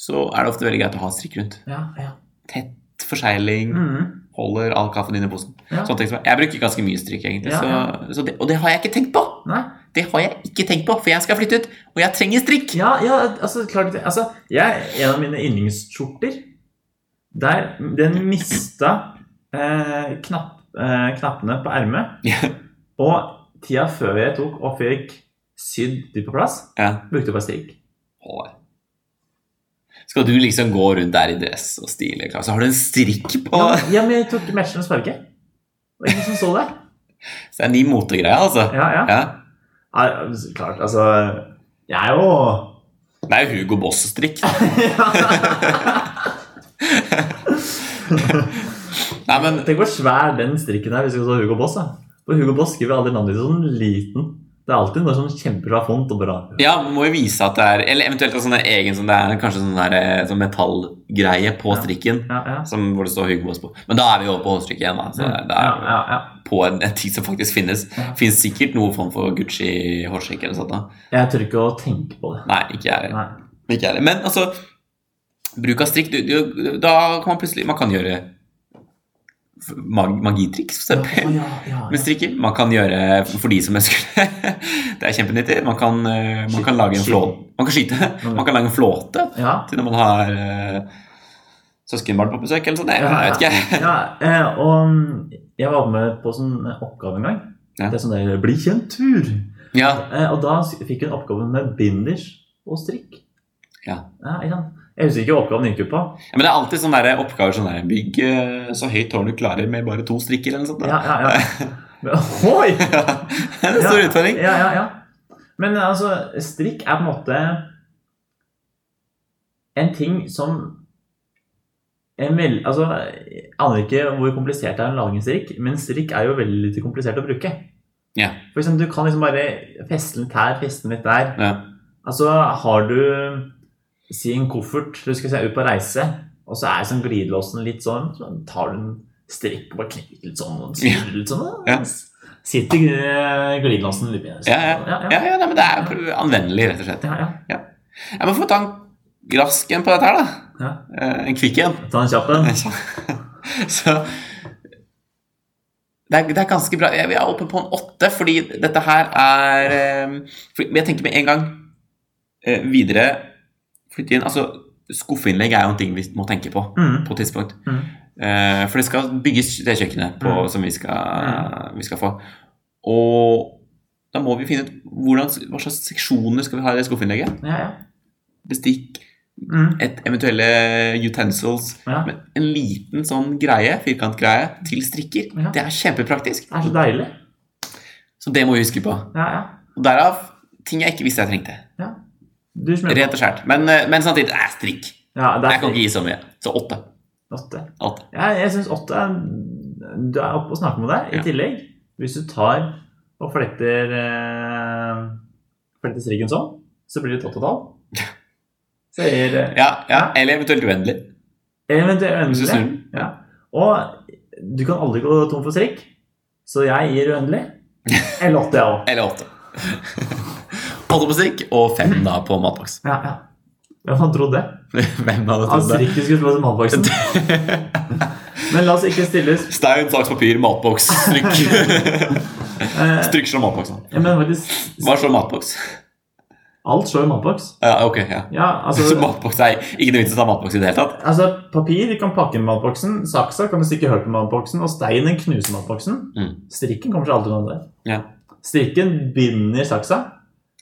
Speaker 1: så er det ofte veldig greit å ha en strikk rundt.
Speaker 2: ja, ja.
Speaker 1: Tett forsegling,
Speaker 2: Mhm.
Speaker 1: holder all kaffen din i posen.
Speaker 2: Ja.
Speaker 1: Sånne ting som Jeg bruker ganske mye strikk, egentlig,
Speaker 2: Ja,
Speaker 1: Så, så det, og det har jeg ikke tenkt på!
Speaker 2: Nei.
Speaker 1: Det har jeg ikke tenkt på, for jeg skal flytte ut, og jeg trenger strikk!
Speaker 2: Ja, ja, altså, klart det. Altså, jeg, en av mine yndlingsskjorter, der den mista eh, knapp, eh, knappene på ermet.
Speaker 1: Ja.
Speaker 2: Og tida før jeg tok og fikk sydd de på plass,
Speaker 1: Ja.
Speaker 2: brukte jeg bare strikk.
Speaker 1: hår. Skal du liksom gå rundt der i dress og stilig klar, så har du en strikk på
Speaker 2: Ja, ja, men jeg tok matchende farge. Det var ingen som så det.
Speaker 1: Så det er ny motegreie, altså.
Speaker 2: Ja, ja.
Speaker 1: Ja.
Speaker 2: Nei, altså, klart, altså Jeg er jo
Speaker 1: Det er jo Hugo
Speaker 2: [laughs]
Speaker 1: Boss-strikk. [laughs] Nei, men
Speaker 2: Tenk hvor svær den strikken er hvis vi skal ta Hugo Boss. da. For Hugo Boss skriver aldri navnet ditt sånn liten. Det er alltid bare sånn kjempebra font og bra.
Speaker 1: ja, man må jo vise at det er Eller eventuelt en sånn der egen sånn det er kanskje sånn der eh, sånn metallgreie på
Speaker 2: Ja.
Speaker 1: strikken.
Speaker 2: Ja, ja.
Speaker 1: Som, hvor det står Hugo Boss på. Men da er vi over på hårstrykket igjen. da. Så det er, det
Speaker 2: Mm. ja,
Speaker 1: er
Speaker 2: ja, ja.
Speaker 1: på en, en ting som faktisk finnes. Fins sikkert noe form for Gucci-hårstrikk eller noe sånt. da.
Speaker 2: Jeg tør ikke å tenke på det.
Speaker 1: Nei, ikke jeg heller.
Speaker 2: Nei.
Speaker 1: Ikke jeg heller. Men altså, bruk av strikk du, du, Da kan man plutselig Man kan gjøre f- mag magitriks, for eksempel.
Speaker 2: ja, ja,
Speaker 1: med strikking. Man kan gjøre for de som ønsker det. [laughs] Det er kjempenyttig. Man kan, eh, man kan lage en
Speaker 2: Skyte.
Speaker 1: flåte Man kan skyte. Man kan lage en flåte
Speaker 2: ja.
Speaker 1: til når man har eh, søskenbarn på besøk eller sånt. Jeg, jeg vet ikke.
Speaker 2: ja, eh, og jeg var med på sånn oppgave en gang.
Speaker 1: Ja.
Speaker 2: Det er sånn der 'bli kjent-tur'.
Speaker 1: Ja,
Speaker 2: Eh, og da s- fikk hun oppgaven med binders og strikk.
Speaker 1: Ja.
Speaker 2: ikke sant? Jeg husker ikke hva oppgaven gikk ut på.
Speaker 1: Ja, Men det er alltid sånne der oppgaver sånn der Bygg eh, så høyt tårn du klarer med bare to strikker eller noe sånt. da. [laughs]
Speaker 2: Ja, ja, ja. Men, oi!
Speaker 1: det er en stor
Speaker 2: Ja,
Speaker 1: utfordring.
Speaker 2: Ja, ja, ja. Men altså, strikk er på en måte en ting som en vel, altså, Jeg aner ikke hvor komplisert det er å lage en strikk, men strikk er jo veldig lite komplisert å bruke.
Speaker 1: Ja.
Speaker 2: For eksempel, du kan liksom bare feste den litt her, feste den litt der.
Speaker 1: Ja.
Speaker 2: Altså, har du si en koffert, du skal se ut på reise, og så er sånn glidelåsen litt sånn, så tar du en strikk og bare knekker litt sånn, og snur litt sånn, og
Speaker 1: Ja.
Speaker 2: sitter eh, glidelåsen litt bedre. sånn.
Speaker 1: Ja, Ja, ja, nei, men det er pr- anvendelig, rett og slett.
Speaker 2: Ja, ja.
Speaker 1: Jeg må få ta en rask en på dette her, da.
Speaker 2: Ja.
Speaker 1: Eh, En kvikk en.
Speaker 2: Ta en kjapp en.
Speaker 1: Så [laughs] det er, det er ganske bra. Jeg jeg er oppe på en åtte, fordi dette her er eh, fordi, Men jeg tenker med en gang eh, videre Flytte inn Altså, skuffeinnlegg er jo en ting vi må tenke på
Speaker 2: Mm.
Speaker 1: på et tidspunkt.
Speaker 2: Mm.
Speaker 1: Eh, for det skal bygges det kjøkkenet på,
Speaker 2: Mm.
Speaker 1: som vi skal, vi skal få. Og da må vi finne ut hvordan, hva slags seksjoner skal vi ha i det skuffeinnlegget.
Speaker 2: Ja, ja.
Speaker 1: Bestikk,
Speaker 2: Mm.
Speaker 1: et eventuelle utensils
Speaker 2: ja.
Speaker 1: Men en liten sånn greie, firkantgreie, til strikker.
Speaker 2: Ja.
Speaker 1: Det er kjempepraktisk.
Speaker 2: Det er så deilig.
Speaker 1: Så det må vi huske på.
Speaker 2: Ja, ja.
Speaker 1: Og derav ting jeg ikke visste jeg trengte.
Speaker 2: Du smører
Speaker 1: Rett og skjært. Men, eh, men samtidig eh, strikk.
Speaker 2: Ja, det
Speaker 1: Jeg
Speaker 2: er
Speaker 1: kan ikke gi så mye. Så åtte.
Speaker 2: åtte.
Speaker 1: åtte.
Speaker 2: Ja, jeg syns åtte er Du er oppe og snakker med deg. I
Speaker 1: Ja.
Speaker 2: tillegg, hvis du tar og fletter eh, Fletter strikken sånn, så blir det et åttetall.
Speaker 1: [laughs]
Speaker 2: Sier eh,
Speaker 1: Ja, ja. Eller eventuelt uendelig.
Speaker 2: eventuelt
Speaker 1: Hvis du snur
Speaker 2: uendelig.
Speaker 1: den.
Speaker 2: Ja. Og du kan aldri gå tom for strikk, så jeg gir uendelig.
Speaker 1: [laughs]
Speaker 2: Eller åtte, jeg òg.
Speaker 1: Eller åtte. [laughs] Åtte på strikk og fem da på matboks. [laughs]
Speaker 2: Ja, ja. Hvem hadde trodd det?
Speaker 1: Hvem hadde
Speaker 2: At
Speaker 1: trodd det?
Speaker 2: strikken skulle slå til
Speaker 1: [laughs]
Speaker 2: matboksen. Men la oss ikke stilles
Speaker 1: Stein, saks, papir, matboks,
Speaker 2: [laughs]
Speaker 1: strykk.
Speaker 2: eh,
Speaker 1: Strykk slår matboksen.
Speaker 2: Men faktisk,
Speaker 1: Hva slår matboks?
Speaker 2: alt slår i matboks.
Speaker 1: Ja, ok, ja.
Speaker 2: Ja, altså
Speaker 1: Så [laughs] matboks er ikke noe vits i å ta matboks i det hele tatt?
Speaker 2: Altså, Papir kan pakke inn matboksen, saksa kan du stikke hull på matboksen, og steinen knuser matboksen.
Speaker 1: Mm.
Speaker 2: Strikken kommer seg alltid unna det.
Speaker 1: Ja.
Speaker 2: Strikken binder saksa.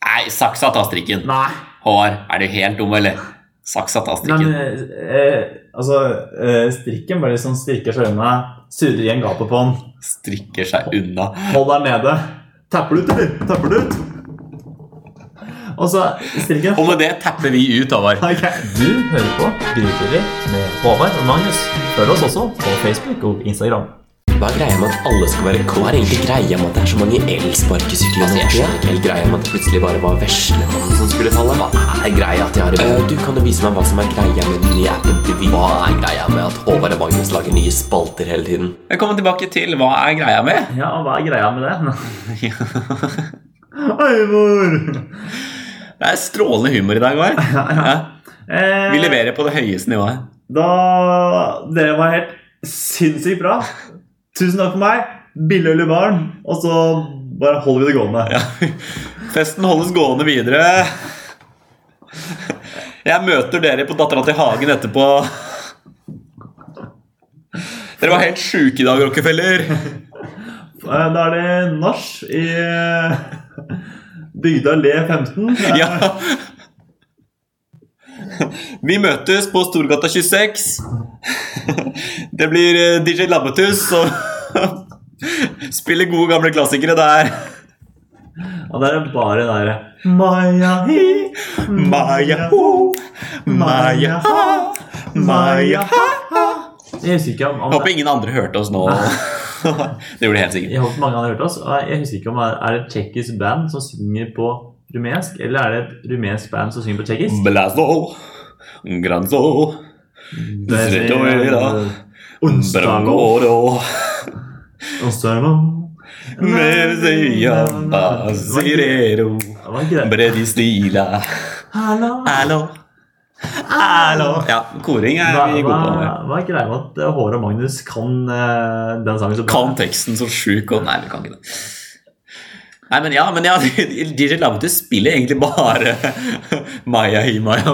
Speaker 1: Nei, saksa tar strikken.
Speaker 2: Nei,
Speaker 1: Håvard, er du helt dum, eller? Saksa tar
Speaker 2: nei
Speaker 1: strikken.
Speaker 2: men eh, altså, eh, strikken bare liksom strikker seg unna, surrer igjen gapet på den,
Speaker 1: Strikker seg unna.
Speaker 2: hold der nede. Tapper du ut, eller? Tapper du ut? Og så strikken
Speaker 1: Og med det tapper vi ut, Håvard.
Speaker 2: Ok. Du hører på Grytidlig med Håvard og Magnus. Følg oss også på Facebook og Instagram.
Speaker 4: Hva er greia med at alle skal være coach? Hva er egentlig greia med at det er så mange elsparkesykler? Altså, jeg skjønner ikke helt greia med at det plutselig bare var veslemannen som skulle falle. Hva er greia at de har Du kan jo vise meg hva som er greia med den nye appen til Vy. Hva er greia med at Håvard og Magnus lager nye spalter hele tiden?
Speaker 1: Velkommen tilbake til Hva er greia
Speaker 2: [laughs]
Speaker 1: med?
Speaker 2: Ja, og hva er greia med det? [laughs]
Speaker 1: Det
Speaker 2: Eivor!
Speaker 1: er strålende humor i dag, Håvard. Ja,
Speaker 2: Eh,
Speaker 1: vi leverer på det høyeste nivået. [laughs]
Speaker 2: Da Dere var helt sinnssykt bra. Tusen takk for meg. Billøl i baren. Og så bare holder vi det gående.
Speaker 1: Ja. Festen holdes gående videre. Jeg møter dere på Dattera til Hagen etterpå. Dere var helt sjuke i dag, Rockefeller.
Speaker 2: Eh, Da er det nach i eh, Bygda le 15. Eh,
Speaker 1: [laughs] Ja. Vi møtes på Storgata 26. [laughs] Det blir eh, DJ Labbetuss og [laughs] spiller gode, gamle klassikere der.
Speaker 2: Og der er bare det derre Maya hi,
Speaker 1: Maya ho, Maya ha, Maya ha.
Speaker 2: Jeg husker ikke om,
Speaker 1: Jeg
Speaker 2: om
Speaker 1: håper ingen andre hørte oss nå. Det gjorde de helt sikkert.
Speaker 2: Jeg håper mange hadde hørt oss. og Jeg husker ikke om det er- er det et tsjekkisk band som synger på rumensk, eller er det et rumensk band som synger på tsjekkisk?
Speaker 1: Blazo, granzo, zredoira, brangoro,
Speaker 2: Onsdagen.
Speaker 1: merzia,
Speaker 2: Hva er det?
Speaker 1: bazirero,
Speaker 2: Hva er det?
Speaker 1: bredistila,
Speaker 2: Hallo.
Speaker 1: hallo.
Speaker 2: Hallo!
Speaker 1: Ja, koring er
Speaker 2: Hva,
Speaker 1: vi
Speaker 2: hva,
Speaker 1: gode på. ja.
Speaker 2: hva er greia med at eh, Håre og Magnus kan eh, den sangen så bra?
Speaker 1: Kan teksten så sjuk og Nei, vi kan ikke det. Nei, men ja, men ja, [laughs] DJ Lambertus spiller egentlig bare [laughs] Maya Hi Mayo.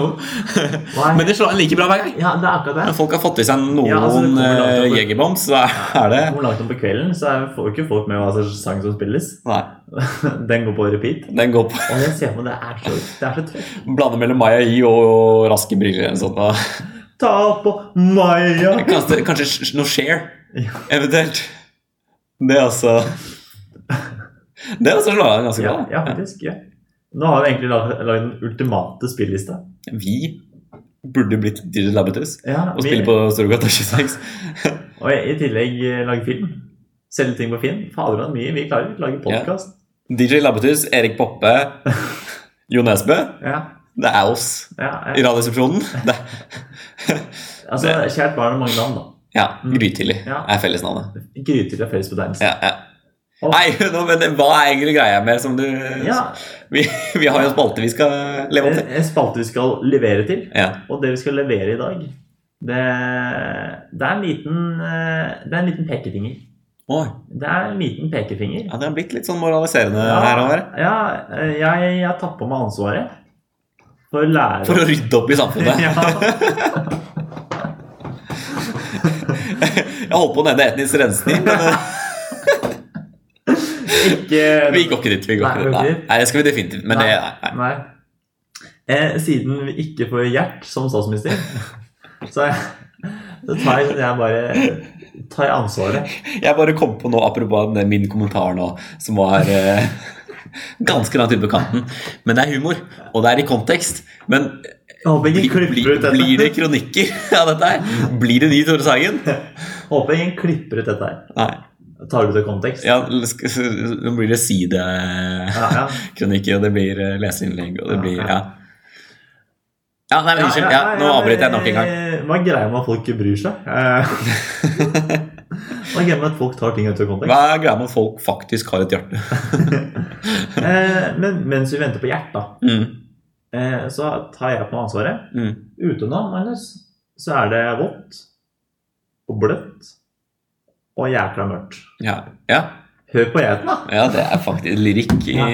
Speaker 2: Nei.
Speaker 1: Men det slår en like bra hver gang.
Speaker 2: Ja, det er akkurat det.
Speaker 1: Når folk har fått i seg noen
Speaker 2: Ja, altså, det kommer langt
Speaker 1: eh,
Speaker 2: over.
Speaker 1: jegerbombs, så er det
Speaker 2: Hvor langt om på kvelden så er- får jo ikke folk med hva slags sang som spilles. [laughs]
Speaker 1: Nei,
Speaker 2: Den går på repeat.
Speaker 1: den går på [laughs]
Speaker 2: Og jeg ser på det er så, det er så trøtt.
Speaker 1: Blande mellom Maya Hi og Raske briller eller noe sånt.
Speaker 2: Ta på Maya!
Speaker 1: da. Kanskje, kanskje sh- noe share, eventuelt. Det er altså Det er altså slår an ganske
Speaker 2: Ja,
Speaker 1: bra.
Speaker 2: ja faktisk. Ja. Nå har vi egentlig lag- lagd den ultimate spillelista.
Speaker 1: Vi burde blitt DJ Lambertus
Speaker 2: Ja,
Speaker 1: og
Speaker 2: vi-
Speaker 1: spille på Storgata 26.
Speaker 2: og i i tillegg eh, lage film. Selge ting på Finn. Fader, så mye vi klarer. Lage podkast.
Speaker 1: DJ Labbetus, Erik Poppe, Jo Nesbø.
Speaker 2: Ja.
Speaker 1: Det er oss
Speaker 2: Ja,
Speaker 1: i
Speaker 2: ja.
Speaker 1: Radioresepsjonen. Det,
Speaker 2: Altså, kjært barn har mange navn, da.
Speaker 1: ja, Grytidlig
Speaker 2: Mm. Ja.
Speaker 1: er fellesnavnet.
Speaker 2: Gryter til felles betegnelse.
Speaker 1: Ja, ja. Nei, nå, men det- hva er egentlig greia med som du
Speaker 2: Ja,
Speaker 1: vi, vi har jo en spalte vi skal leve opp
Speaker 2: en
Speaker 1: til.
Speaker 2: en spalte vi skal levere til.
Speaker 1: Ja.
Speaker 2: Og det vi skal levere i dag, det, det er en liten eh, Det er en liten pekefinger.
Speaker 1: Oi,
Speaker 2: Det er en liten pekefinger.
Speaker 1: ja, det har blitt litt sånn moraliserende
Speaker 2: Ja,
Speaker 1: her og der.
Speaker 2: ja, eh, jeg, jeg tar på meg ansvaret for å lære
Speaker 1: For å rydde opp i samfunnet.
Speaker 2: [laughs] ja.
Speaker 1: Jeg holdt på å nevne etnisk rensning, men eh,
Speaker 2: [laughs] Ikke
Speaker 1: vi går ikke dit. vi går
Speaker 2: Nei,
Speaker 1: ikke dit. Nei,
Speaker 2: går ikke dit.
Speaker 1: nei, det skal vi definitivt. Men det,
Speaker 2: Nei.
Speaker 1: nei, nei.
Speaker 2: Nei. Eh, siden vi ikke får Gjert
Speaker 1: [laughs]
Speaker 2: som statsminister, så, så tar jeg, jeg bare tar jeg ansvaret.
Speaker 1: Jeg bare kom på nå, apropos den- min kommentar nå, som var eh, [laughs] ganske langt ute på kanten. Men det er humor, og det er i kontekst. Men
Speaker 2: Jeg håper
Speaker 1: bli,
Speaker 2: ingen
Speaker 1: bli,
Speaker 2: klipper ut dette.
Speaker 1: blir det kronikker [laughs] av dette her? Blir det ny Tore Sagen?
Speaker 2: Håper ingen klipper ut dette her.
Speaker 1: Nei.
Speaker 2: Tar du det i kontekst?
Speaker 1: Ja, sk- s- nå blir det sidekronikker,
Speaker 2: Ja, ja.
Speaker 1: og det blir eh, leseinnlegg, og det
Speaker 2: Ja,
Speaker 1: blir
Speaker 2: ja.
Speaker 1: Ja, ja nei, men [laughs] unnskyld. Ja, nå avbryter jeg nok en gang.
Speaker 2: eh, Hva er greia med at folk ikke bryr
Speaker 1: [laughs]
Speaker 2: seg? Eh, Hva er greia med at folk tar ting ut av kontekst?
Speaker 1: Hva er greia med at folk faktisk har et hjerte?
Speaker 2: Eh, men mens vi venter på Gjert, da,
Speaker 1: Mm,
Speaker 2: eh, så tar jeg på meg ansvaret.
Speaker 1: mm.
Speaker 2: Ute nå, Magnus, så er det vått og bløtt og jækla mørkt.
Speaker 1: Ja. Ja.
Speaker 2: Hør på geiten, da!
Speaker 1: ja, det er faktisk lyrikk i
Speaker 2: Ja,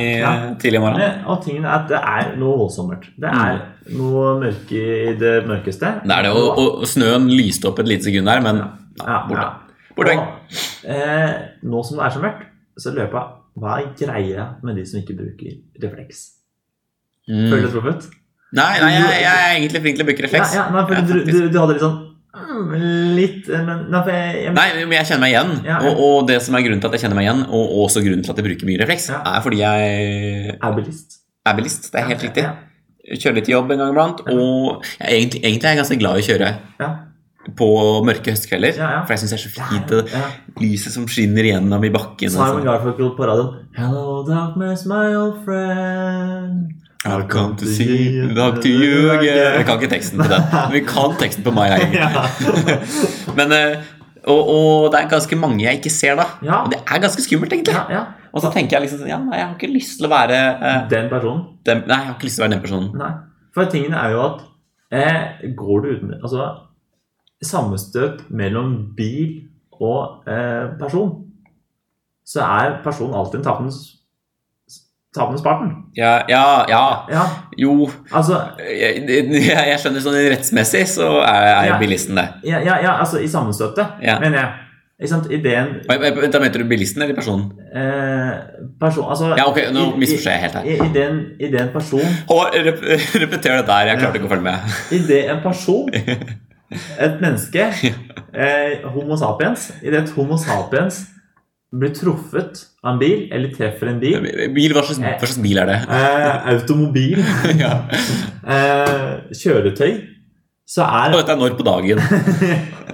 Speaker 2: ja.
Speaker 1: tidlig morgen.
Speaker 2: Eh, Og tingen er at det er noe voldsomt mørkt. Det er noe mørke i det mørkeste.
Speaker 1: Mm. Det er det, og, og snøen lyste opp et lite sekund der, men
Speaker 2: ja,
Speaker 1: borte.
Speaker 2: ja.
Speaker 1: borte vekk.
Speaker 2: Og, eh, nå som det er så mørkt, så løper jeg Hva er greia med de som ikke bruker refleks?
Speaker 1: Mm.
Speaker 2: Føler du deg truffet?
Speaker 1: Nei, nei, jeg, jeg er egentlig flink til å bruke refleks.
Speaker 2: Ja, ja, nei, for
Speaker 1: Ja,
Speaker 2: du,
Speaker 1: faktisk.
Speaker 2: du, du hadde litt sånn mm, Litt eh, Men nei, for jeg, jeg,
Speaker 1: Nei, men jeg kjenner meg igjen.
Speaker 2: Ja.
Speaker 1: Og, og det som er grunnen til at jeg kjenner meg igjen, og også grunnen til at jeg bruker mye refleks,
Speaker 2: Ja.
Speaker 1: er fordi jeg
Speaker 2: er bilist.
Speaker 1: er bilist. Det er helt riktig.
Speaker 2: Ja,
Speaker 1: Kjører litt til jobb en gang iblant.
Speaker 2: Ja.
Speaker 1: Og jeg, er egentlig, egentlig er jeg ganske glad i å kjøre
Speaker 2: ja,
Speaker 1: på mørke høstkvelder.
Speaker 2: Ja, ja.
Speaker 1: For jeg syns det er så
Speaker 2: ja,
Speaker 1: fint,
Speaker 2: ja,
Speaker 1: det
Speaker 2: ja.
Speaker 1: lyset som skinner gjennom i bakken. og
Speaker 2: Simon
Speaker 1: sånn.
Speaker 2: Garfunkel på radioen. Hello, darkness, my old friend.
Speaker 1: I'll come to see you, talk to
Speaker 2: [laughs]
Speaker 1: you again. Vi kan ikke teksten på den. men Vi kan teksten på meg, egentlig.
Speaker 2: [laughs] Ja.
Speaker 1: Men, eh, og, og det er ganske mange jeg ikke ser da. [laughs]
Speaker 2: Ja.
Speaker 1: Og det er ganske skummelt, egentlig.
Speaker 2: ja, ja.
Speaker 1: Og så tenker jeg liksom sånn Ja, nei, jeg har ikke lyst til å være eh,
Speaker 2: Den personen.
Speaker 1: den, Nei, jeg har ikke lyst til å være den personen.
Speaker 2: Nei. For tingen er jo at eh, går du uten Altså, sammenstøt mellom bil og eh, person, så er personen alltid en tapens tapens parten.
Speaker 1: Ja, ja, ja.
Speaker 2: Ja,
Speaker 1: jo
Speaker 2: altså
Speaker 1: jeg, jeg, jeg skjønner sånn rettsmessig så er, er
Speaker 2: Ja.
Speaker 1: bilisten det.
Speaker 2: Ja, ja, ja altså i sammenstøtet,
Speaker 1: Ja.
Speaker 2: mener jeg. Ikke sant? Ideen
Speaker 1: Oi, oi, Da mente du bilisten eller personen?
Speaker 2: eh, Person Altså
Speaker 1: Ja, ok, nå
Speaker 2: i- i-
Speaker 1: misforstår jeg helt her.
Speaker 2: i- Ideen, ideen person
Speaker 1: Håvard, rep [laughs] repeter dette her. Jeg klarte ikke å følge med.
Speaker 2: Idet en
Speaker 1: [laughs]
Speaker 2: person, et menneske, eh, Homo sapiens Idet et Homo sapiens blir truffet av en bil, eller treffer en bil
Speaker 1: Bil, hva slags, hva slags bil er det? [laughs]
Speaker 2: eh, Automobil,
Speaker 1: ja.
Speaker 2: eh, kjøretøy Så
Speaker 1: Og
Speaker 2: er
Speaker 1: dette er når på dagen.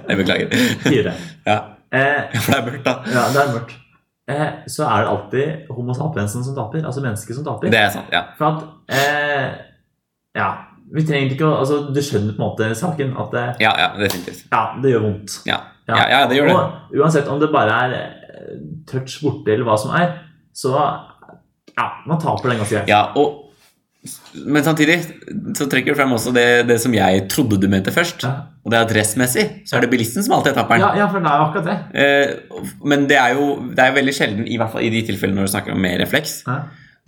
Speaker 1: Jeg beklager.
Speaker 2: [laughs]
Speaker 1: [laughs]
Speaker 2: fire.
Speaker 1: Ja,
Speaker 2: Eh,
Speaker 1: for det er mørkt, da.
Speaker 2: ja, det er mørkt. Eh, så er det alltid Homo sapiensen som taper, altså mennesket som taper.
Speaker 1: Det er sant. Ja.
Speaker 2: For at eh, Ja, vi trenger ikke å altså, Du skjønner på en måte saken. At det,
Speaker 1: Ja, ja, definitivt.
Speaker 2: ja, det gjør vondt.
Speaker 1: Ja. Ja, ja, det gjør det.
Speaker 2: Og uansett om det bare er eh, touch borte eller hva som er, så ja, man taper den ganske greit.
Speaker 1: Ja, og Men samtidig så trekker du frem også det, det som jeg trodde du mente først.
Speaker 2: Ja.
Speaker 1: Og det er at dressmessig så er det bilisten som alltid er tapperen.
Speaker 2: Ja, ja, for det er jo akkurat det.
Speaker 1: Eh, men det er jo det er jo veldig sjelden, i hvert fall i de tilfellene når du snakker om med refleks,
Speaker 2: Ja,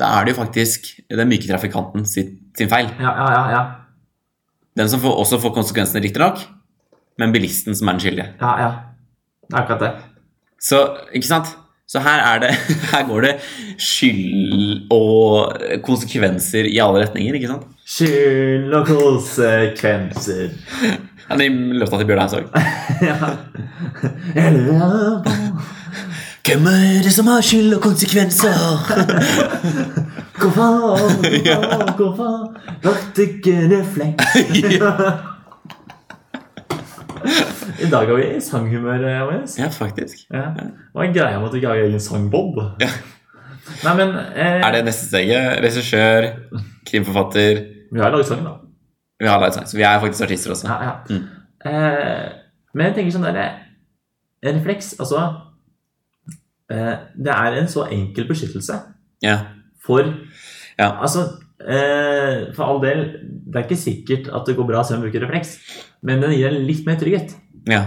Speaker 1: da er det jo faktisk den myke trafikanten sitt, sin feil.
Speaker 2: ja, ja. ja, ja.
Speaker 1: Den som får, også får konsekvensene, riktignok, men bilisten som er den skyldige.
Speaker 2: Ja, ja. Det er akkurat det.
Speaker 1: Så, ikke sant? Så her, er det, [laughs] her går det skyld og konsekvenser i alle retninger, ikke sant?
Speaker 2: Skyld og konsekvenser.
Speaker 1: Ja, det er låta til Bjørn Eidsvåg.
Speaker 2: Ja. Jeg lurer på
Speaker 1: Hvem er det som har skyld og konsekvenser?
Speaker 2: hvorfor,
Speaker 1: [laughs]
Speaker 2: hvorfor, hvorfor lagt ikke refleks? I dag har vi i sanghumør, eh, Magnus.
Speaker 1: ja, faktisk.
Speaker 2: Ja. Hva er greia med at du ikke har egen sangbob? Nei, men eh,
Speaker 1: Er det neste steget? Regissør, krimforfatter
Speaker 2: Vi har laget sang, da.
Speaker 1: Vi har light science. Vi er faktisk artister også.
Speaker 2: Ja, ja.
Speaker 1: Mm.
Speaker 2: Eh, men jeg tenker sånn derre Refleks, altså eh, Det er en så enkel beskyttelse
Speaker 1: Ja.
Speaker 2: for
Speaker 1: Ja.
Speaker 2: Altså, eh, for all del, det er ikke sikkert at det går bra selv om du bruker refleks, men den gir deg litt mer trygghet.
Speaker 1: Ja.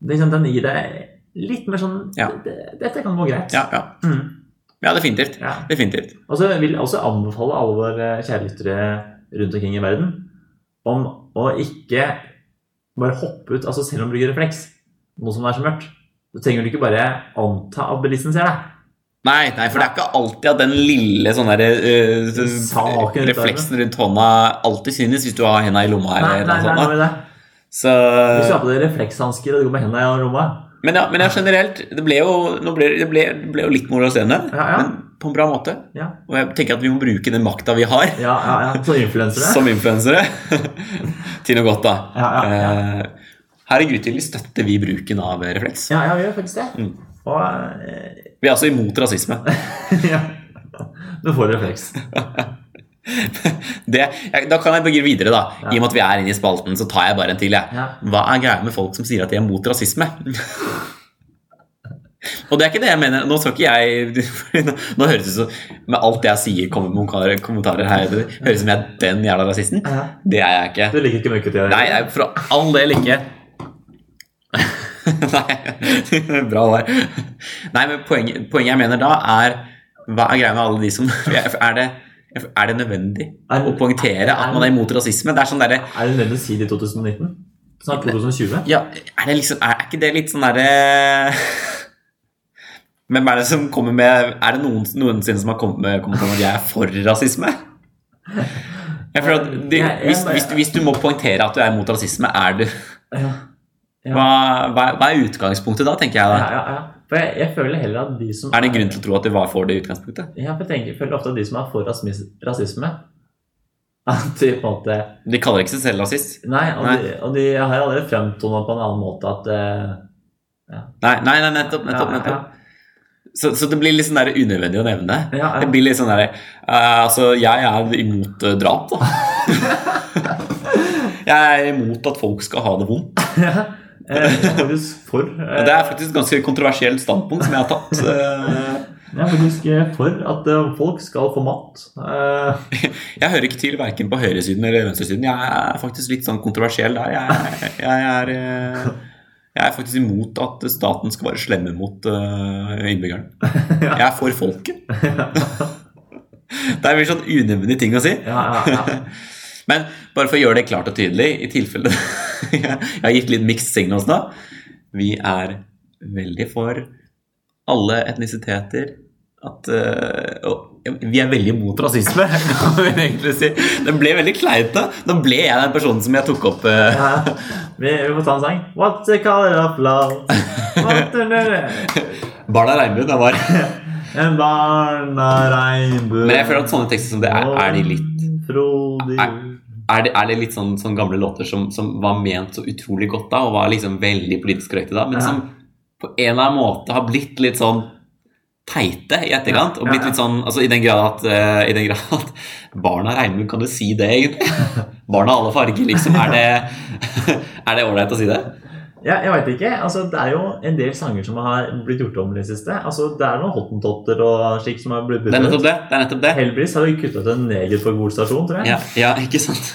Speaker 2: Det er sånn, Den gir deg litt mer sånn
Speaker 1: Ja.
Speaker 2: «D- Dette kan gå greit.
Speaker 1: Ja, ja.
Speaker 2: Mm,
Speaker 1: ja definitivt.
Speaker 2: ja.
Speaker 1: Definitivt.
Speaker 2: Og så vil jeg også anbefale alle våre kjære lyttere rundt omkring i verden om å ikke bare hoppe ut, altså selv om du bruker refleks, nå som det er så mørkt. Så trenger du ikke bare anta at bilisten ser deg.
Speaker 1: Nei, nei, for det er ikke alltid at den lille sånn der, eh,
Speaker 2: Den saken rundt
Speaker 1: refleksen rundt hånda alltid synes hvis du har henda i lomma.
Speaker 2: Nei,
Speaker 1: Eller noe
Speaker 2: nei, nei,
Speaker 1: sånt,
Speaker 2: nei,
Speaker 1: sånn, da. Eh.
Speaker 2: nei.
Speaker 1: Så,
Speaker 2: Du skal ha på deg reflekshansker og du går med hendene i lomma.
Speaker 1: men, ja, men ja, generelt, det ble jo, nå ble, det ble, det ble jo litt moraliserende,
Speaker 2: Ja, ja.
Speaker 1: men på en bra måte.
Speaker 2: Ja,
Speaker 1: Og jeg tenker at vi må bruke den makta vi har
Speaker 2: ja, ja, ja. Så influensere.
Speaker 1: som influensere, [laughs] til noe godt, da.
Speaker 2: Ja, ja,
Speaker 1: Eh, her i Grytidlig støtter vi bruken av refleks.
Speaker 2: Ja, ja, vi gjør faktisk det.
Speaker 1: Mm.
Speaker 2: Og eh, [laughs]
Speaker 1: Vi er altså imot rasisme.
Speaker 2: ja. Du får refleks.
Speaker 1: Det, jeg, da kan jeg begynne videre, da.
Speaker 2: Ja.
Speaker 1: I og med at vi er inne i spalten, så tar jeg bare en til. Jeg.
Speaker 2: Ja.
Speaker 1: Hva er greia med folk som sier at de er mot rasisme? Og det er ikke det jeg mener. Nå skal ikke jeg [laughs] fordi Nå, nå høres det ut som Med alt jeg sier, kommer med kommentarer, kommentarer her. Det høres ut som jeg er den jævla rasisten.
Speaker 2: Ja.
Speaker 1: Det er jeg ikke.
Speaker 2: Du liker ikke mørketida?
Speaker 1: Nei, nei, for all del ikke. [laughs] Nei, [laughs] bra der. Nei, men poenget, poenget jeg mener da, er Hva er greia med alle de som [laughs] Er det, er det nødvendig
Speaker 2: Er-
Speaker 1: å poengtere at man er imot rasisme? Det er sånn derre
Speaker 2: Er det nødvendig å si det i 2019? Snart 2020?
Speaker 1: Ja, er det liksom Er ikke det litt sånn derre [laughs] Hvem er det som kommer med Er det noen, noensinne som har kommet med kommentarer om at jeg er for rasisme? Jeg føler at det, hvis, hvis, du- hvis du må poengtere at du er imot rasisme, er du
Speaker 2: Ja.
Speaker 1: Hva, hva, hva er utgangspunktet da, tenker jeg
Speaker 2: Ja,
Speaker 1: da?
Speaker 2: ja, ja. For jeg, jeg føler heller at de som
Speaker 1: Er det grunn til å tro at du var for det i utgangspunktet?
Speaker 2: Ja, for jeg tenker, føler ofte at de som er for rasisme, rasisme At de på en måte
Speaker 1: De kaller ikke seg selv rasist.
Speaker 2: Nei, og,
Speaker 1: Nei.
Speaker 2: De, og de har allerede fremtona på en annen måte at eh,
Speaker 1: Nei, nei, nei nettopp. nettopp, nettopp. Så, så det blir litt sånn der unødvendig å nevne.
Speaker 2: Ja, ja.
Speaker 1: Det blir litt sånn der eh, Altså, jeg er imot eh, drap, da. jeg er imot at folk skal ha det vondt.
Speaker 2: [laughs] Eh, jeg er faktisk for eh,
Speaker 1: Og det er faktisk et ganske kontroversielt standpunkt som jeg har tatt. eh.
Speaker 2: Jeg er faktisk eh, for at eh, folk skal få mat. Eh,
Speaker 1: Jeg hører ikke til verken på høyresiden eller venstresiden. Jeg er faktisk litt sånn kontroversiell der. Jeg, jeg, er, eh, jeg er faktisk imot at staten skal være slemme mot eh, innbyggeren. Jeg er for folket. Det er en sånn unødvendig ting å si.
Speaker 2: ja, ja, ja.
Speaker 1: [laughs] Men bare for å gjøre det klart og tydelig, i tilfelle [laughs] jeg har gitt litt mixed signals nå Vi er veldig for alle etnisiteter at eh, og vi er veldig imot rasisme, [laughs] kan vi egentlig si. Det ble veldig kleint, da. Nå ble jeg den personen som jeg tok opp eh,
Speaker 2: ja. Vi, vi får ta en sang. What's the color of love? What the...
Speaker 1: Barna Regnbuen. jeg var. [laughs]
Speaker 2: En barna regnbue
Speaker 1: Men jeg føler at sånne tekster som det er, er de litt
Speaker 2: Frodig
Speaker 1: Er- er det, er det litt sånn, sånn gamle låter som, som var ment så utrolig godt da, og var liksom veldig politisk korrekte da, men
Speaker 2: Ja.
Speaker 1: som på en eller annen måte har blitt litt sånn teite i etterkant, og
Speaker 2: Ja,
Speaker 1: blitt
Speaker 2: ja.
Speaker 1: litt sånn, altså i den grad at, eh, i den grad [laughs] at barna regner, kan du
Speaker 2: [laughs]
Speaker 1: [laughs] si det egentlig? Barna av alle farger, liksom, er det er det ålreit å si det?
Speaker 2: Ja, jeg veit ikke. Altså, det er jo en del sanger som har blitt gjort om i det siste. Altså, det er noen hottentotter og slikt som har blitt
Speaker 1: Det er
Speaker 2: brutt.
Speaker 1: nettopp det. det, er nettopp det.
Speaker 2: Hellbris har jo kutta ut en neger på Gol stasjon, tror jeg.
Speaker 1: Ja, ja, ikke sant?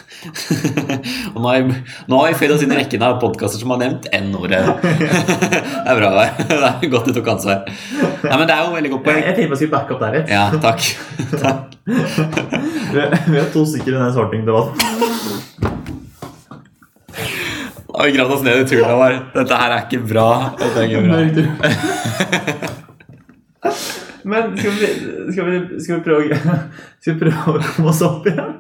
Speaker 1: [laughs] Og nå har vi, nå har vi føyd oss inn i rekken av podkaster som har nevnt N-ordet. [laughs] Det er bra. Det Det er godt du tok ansvar. Nei, men Det er jo veldig godt
Speaker 2: Jeg,
Speaker 1: poeng.
Speaker 2: jeg tenkte jeg skulle backe opp der litt.
Speaker 1: Ja, takk. [laughs] takk.
Speaker 2: Vi vi har to stykker i den svartingdebatten.
Speaker 1: Nå har vi gravd oss ned i turen vår. Dette her er ikke bra. Dette er ikke bra.
Speaker 2: [laughs] Men skal vi, skal, vi, skal, vi prøve, å- [laughs] skal vi prøve å komme oss opp igjen?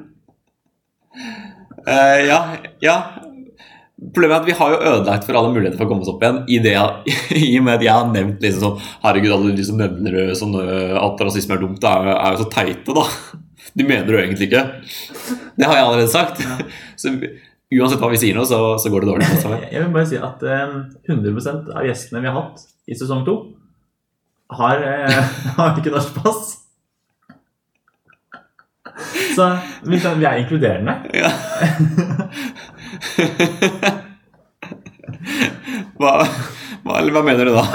Speaker 1: Eh, ja, ja. Problemet er at vi har jo ødelagt for alle muligheter for å komme oss opp igjen. I, det, at- [laughs] i og med at jeg har nevnt liksom sånn Herregud, alle de som nevner eh, sånn, eh, at rasisme er dumt, er, er jo så teite, da. [laughs] De mener det jo egentlig ikke. Det har jeg allerede sagt. [laughs] Så uansett hva vi sier nå, så, så går det dårlig. Altså.
Speaker 2: [laughs] Jeg vil bare si at eh, 100 av gjestene vi har hatt i sesong to, har, eh, [laughs] har ikke norsk pass. Så vi, kan- vi er inkluderende.
Speaker 1: Ja. Hva, hva, eller hva mener du da?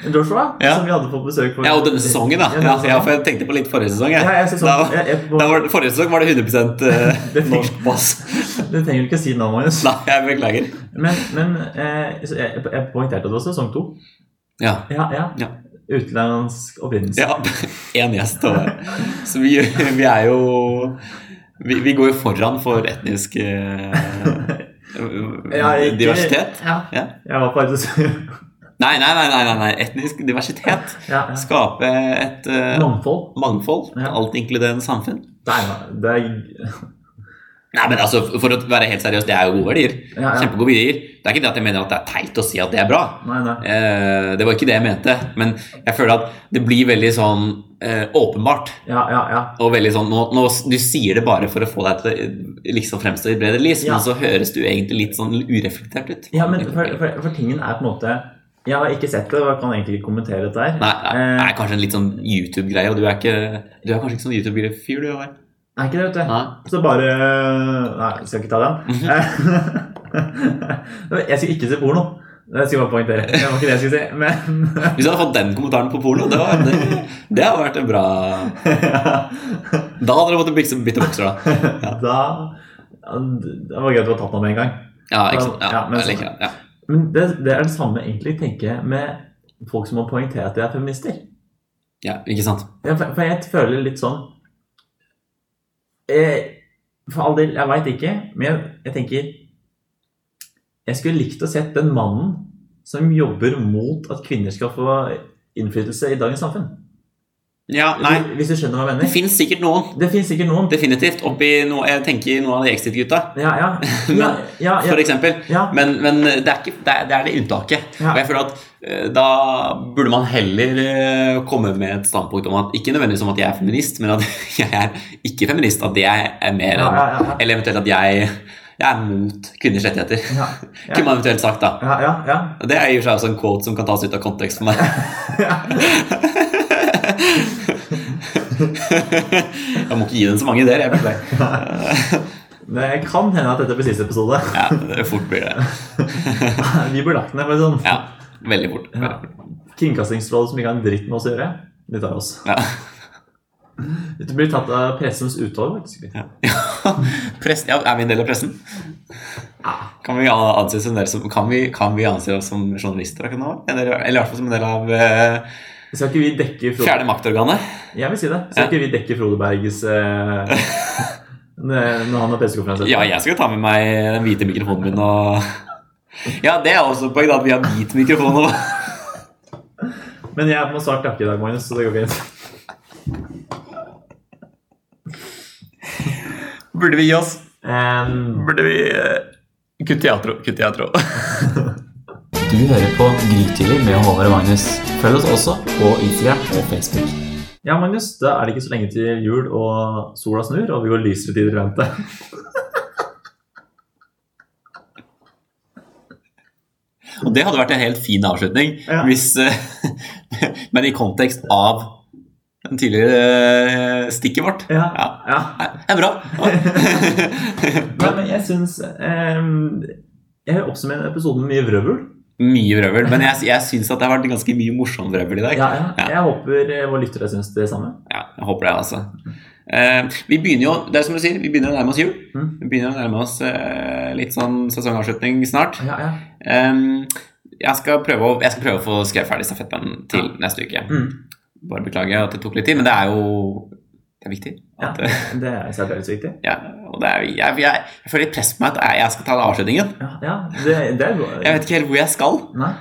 Speaker 2: Joshua,
Speaker 1: Ja.
Speaker 2: som vi hadde på besøk for
Speaker 1: Ja, og denne sesongen, da.
Speaker 2: Ja,
Speaker 1: Ja,
Speaker 2: denne
Speaker 1: ja, for jeg tenkte på litt forrige sesong. Jeg.
Speaker 2: Ja, jeg synes
Speaker 1: Da
Speaker 2: sånn-
Speaker 1: var-
Speaker 2: jeg- jeg-
Speaker 1: Da var, forrige sesong var det 100
Speaker 2: [laughs]
Speaker 1: eh,
Speaker 2: Det fikk-
Speaker 1: norsk pass.
Speaker 2: Det trenger du ikke si nå, Magnus.
Speaker 1: Nei, jeg beklager.
Speaker 2: Men, men eh, så jeg, jeg poengterte at det var sesong to.
Speaker 1: Ja.
Speaker 2: Ja, ja.
Speaker 1: Ja.
Speaker 2: Utenlandsk opprinnelse.
Speaker 1: [laughs] ja Én gjest over. Så vi, vi er jo vi, vi går jo foran for etnisk eh,
Speaker 2: Jeg er ikke-
Speaker 1: diversitet.
Speaker 2: Ja.
Speaker 1: Ja.
Speaker 2: Jeg var på arbeidsliv.
Speaker 1: Nei, nei, nei, nei, nei, nei. Etnisk diversitet.
Speaker 2: [laughs] Ja, ja.
Speaker 1: Skape et eh,
Speaker 2: Mangfold.
Speaker 1: mangfold.
Speaker 2: Ja.
Speaker 1: Alt inkluderende samfunn.
Speaker 2: Det er, det er,
Speaker 1: Nei, men altså, For å være helt seriøs, det er jo gode verdier.
Speaker 2: Ja, ja.
Speaker 1: Kjempegode verdier. Det er ikke det at jeg mener at det er teit å si at det er bra.
Speaker 2: nei, nei.
Speaker 1: Eh, det var ikke det jeg mente, men jeg føler at det blir veldig sånn eh, åpenbart.
Speaker 2: Ja, ja, ja.
Speaker 1: Og veldig sånn, nå, nå, Du sier det bare for å få deg til å liksom fremstå i et bredere lys,
Speaker 2: Ja.
Speaker 1: men så høres du egentlig litt sånn ureflektert ut.
Speaker 2: Ja, men for, for, for tingen er på en måte Jeg har ikke sett det, og jeg kan egentlig ikke kommentere dette her.
Speaker 1: Nei, det er- det
Speaker 2: Eh,
Speaker 1: er kanskje en litt sånn YouTube-greie, og du er, ikke, du er kanskje ikke sånn YouTube-fyr, du? Håvard?
Speaker 2: er ikke det, vet du.
Speaker 1: Nei. Mhm.
Speaker 2: Så bare Nei, jeg skal ikke ta den. Eh, [laughs] jeg skal ikke se porno. Det skal jeg bare poengtere. Det var ikke det jeg skulle si,
Speaker 1: [laughs]
Speaker 2: men
Speaker 1: Hvis jeg hadde fått den kommentaren på porno, det, var, det, det hadde vært en bra Da hadde du måttet bytte, bytte bokser, da.
Speaker 2: da Det var greit å ha tatt noe med en gang.
Speaker 1: Ja, ikke sant? Ja,
Speaker 2: Ja, men
Speaker 1: jeg
Speaker 2: sånn.
Speaker 1: liker det. Ja.
Speaker 2: Men det, det er det samme egentlig, tenker jeg, med folk som må poengtere at de er feminister.
Speaker 1: ja, ikke sant?
Speaker 2: Ja, for, for jeg føler litt sånn eh, For all del, jeg veit ikke, men jeg, jeg tenker Jeg skulle likt å sett den mannen som jobber mot at kvinner skal få innflytelse i dagens samfunn.
Speaker 1: Ja, nei.
Speaker 2: Hvis du skjønner hva jeg
Speaker 1: Det
Speaker 2: mener?
Speaker 1: fins sikkert noen.
Speaker 2: Det fins sikkert noen.
Speaker 1: Definitivt. Oppi noe, jeg tenker noe av de Exit-gutta,
Speaker 2: Ja,
Speaker 1: [laughs]
Speaker 2: ja. Ja, ja, ja,
Speaker 1: for eksempel.
Speaker 2: ja.
Speaker 1: Men, men det, er ikke, det, er, det er det unntaket.
Speaker 2: Ja.
Speaker 1: Og jeg føler at eh, da burde man heller eh, komme med et standpunkt om at ikke nødvendigvis om at jeg er feminist, men at [laughs] jeg er ikke feminist. At det er mer enn
Speaker 2: Ja, ja, ja.
Speaker 1: Eller eventuelt at jeg, jeg er mot kvinners rettigheter.
Speaker 2: Ja,
Speaker 1: Kunne man eventuelt sagt, da.
Speaker 2: ja, ja,
Speaker 1: [laughs]
Speaker 2: ja.
Speaker 1: Og Det er i og for seg også en quote som kan tas ut av kontekst
Speaker 2: [laughs]
Speaker 1: for meg. jeg må ikke gi den så mange ideer. Jeg beklager.
Speaker 2: Det kan hende at dette blir siste episode.
Speaker 1: Ja, det fort blir det.
Speaker 2: [laughs] Vi blir lagt ned. for å si det sånn.
Speaker 1: Ja, veldig fort.
Speaker 2: Ja. Kringkastingsrådet som ikke har en dritt med oss å gjøre, de tar oss.
Speaker 1: Ja.
Speaker 2: Det blir tatt av pressens utvalg, faktisk.
Speaker 1: Ja. [laughs] Press, ja, er vi en del av pressen? Kan vi anse, som dere som, kan vi, kan vi anse oss som journalister? da, kan det være? Eller, eller i hvert fall som en del av eh,
Speaker 2: Skal ikke vi dekke Frode
Speaker 1: fjerde maktorganet?
Speaker 2: Jeg vil si det. Skal
Speaker 1: Ja.
Speaker 2: ikke vi dekke Frode Bergs
Speaker 1: [laughs]
Speaker 2: eh, Når når han har pressekonferanse?
Speaker 1: Ja, jeg skal ta med meg den hvite mikrofonen min og [laughs] Ja, det er også et poeng, da, at vi har hvit mikrofon. Og...
Speaker 2: Men jeg må svart takke i dag, Magnus, så det går fint.
Speaker 1: [laughs] Burde vi gi oss?
Speaker 2: Em,
Speaker 1: Burde vi Kutt i atro. Kutt i atro.
Speaker 5: [laughs] Du hører på Grytidlig med Håvard og Magnus. Følg oss også på Instagram og Facebook.
Speaker 2: ja, Magnus, da er det ikke så lenge til jul, og sola snur, og vi går lysere tider i vente. [laughs]
Speaker 1: Og det hadde vært en helt fin avslutning
Speaker 2: Ja.
Speaker 1: hvis eh, [laughs] Men i kontekst av den tidligere eh, stikket vårt.
Speaker 2: Ja.
Speaker 1: Ja.
Speaker 2: ja.
Speaker 1: Nei, Det er bra.
Speaker 2: Nei, men jeg syns em, Jeg hører oppsummere episoden med mye vrøvl.
Speaker 1: [laughs] Mye vrøvl. Men jeg, jeg syns at det har vært ganske mye morsom vrøvl i dag.
Speaker 2: Ja, ja. Jeg håper eh, våre lyttere syns det samme.
Speaker 1: Ja, jeg håper det, altså. Eh, vi begynner jo det er som du sier, vi begynner å nærme oss jul.
Speaker 2: Mm.
Speaker 1: Vi begynner å nærme oss eh, litt sånn sesongavslutning snart.
Speaker 2: Ja, ja.
Speaker 1: Em, jeg, skal prøve å, jeg skal prøve å få skrevet ferdig stafettpennen til neste uke.
Speaker 2: Mm.
Speaker 1: Bare beklager at det tok litt tid, men det er jo det er viktig.
Speaker 2: Ja.
Speaker 1: At, eh,
Speaker 2: Det er særdeles viktig.
Speaker 1: ja, og det er, jeg, jeg, jeg føler litt press på meg at eh, jeg- jeg skal ta den avslutningen.
Speaker 2: Ja, ja det, det er bra.
Speaker 1: Jeg vet ikke helt hvor jeg skal,
Speaker 2: Nei,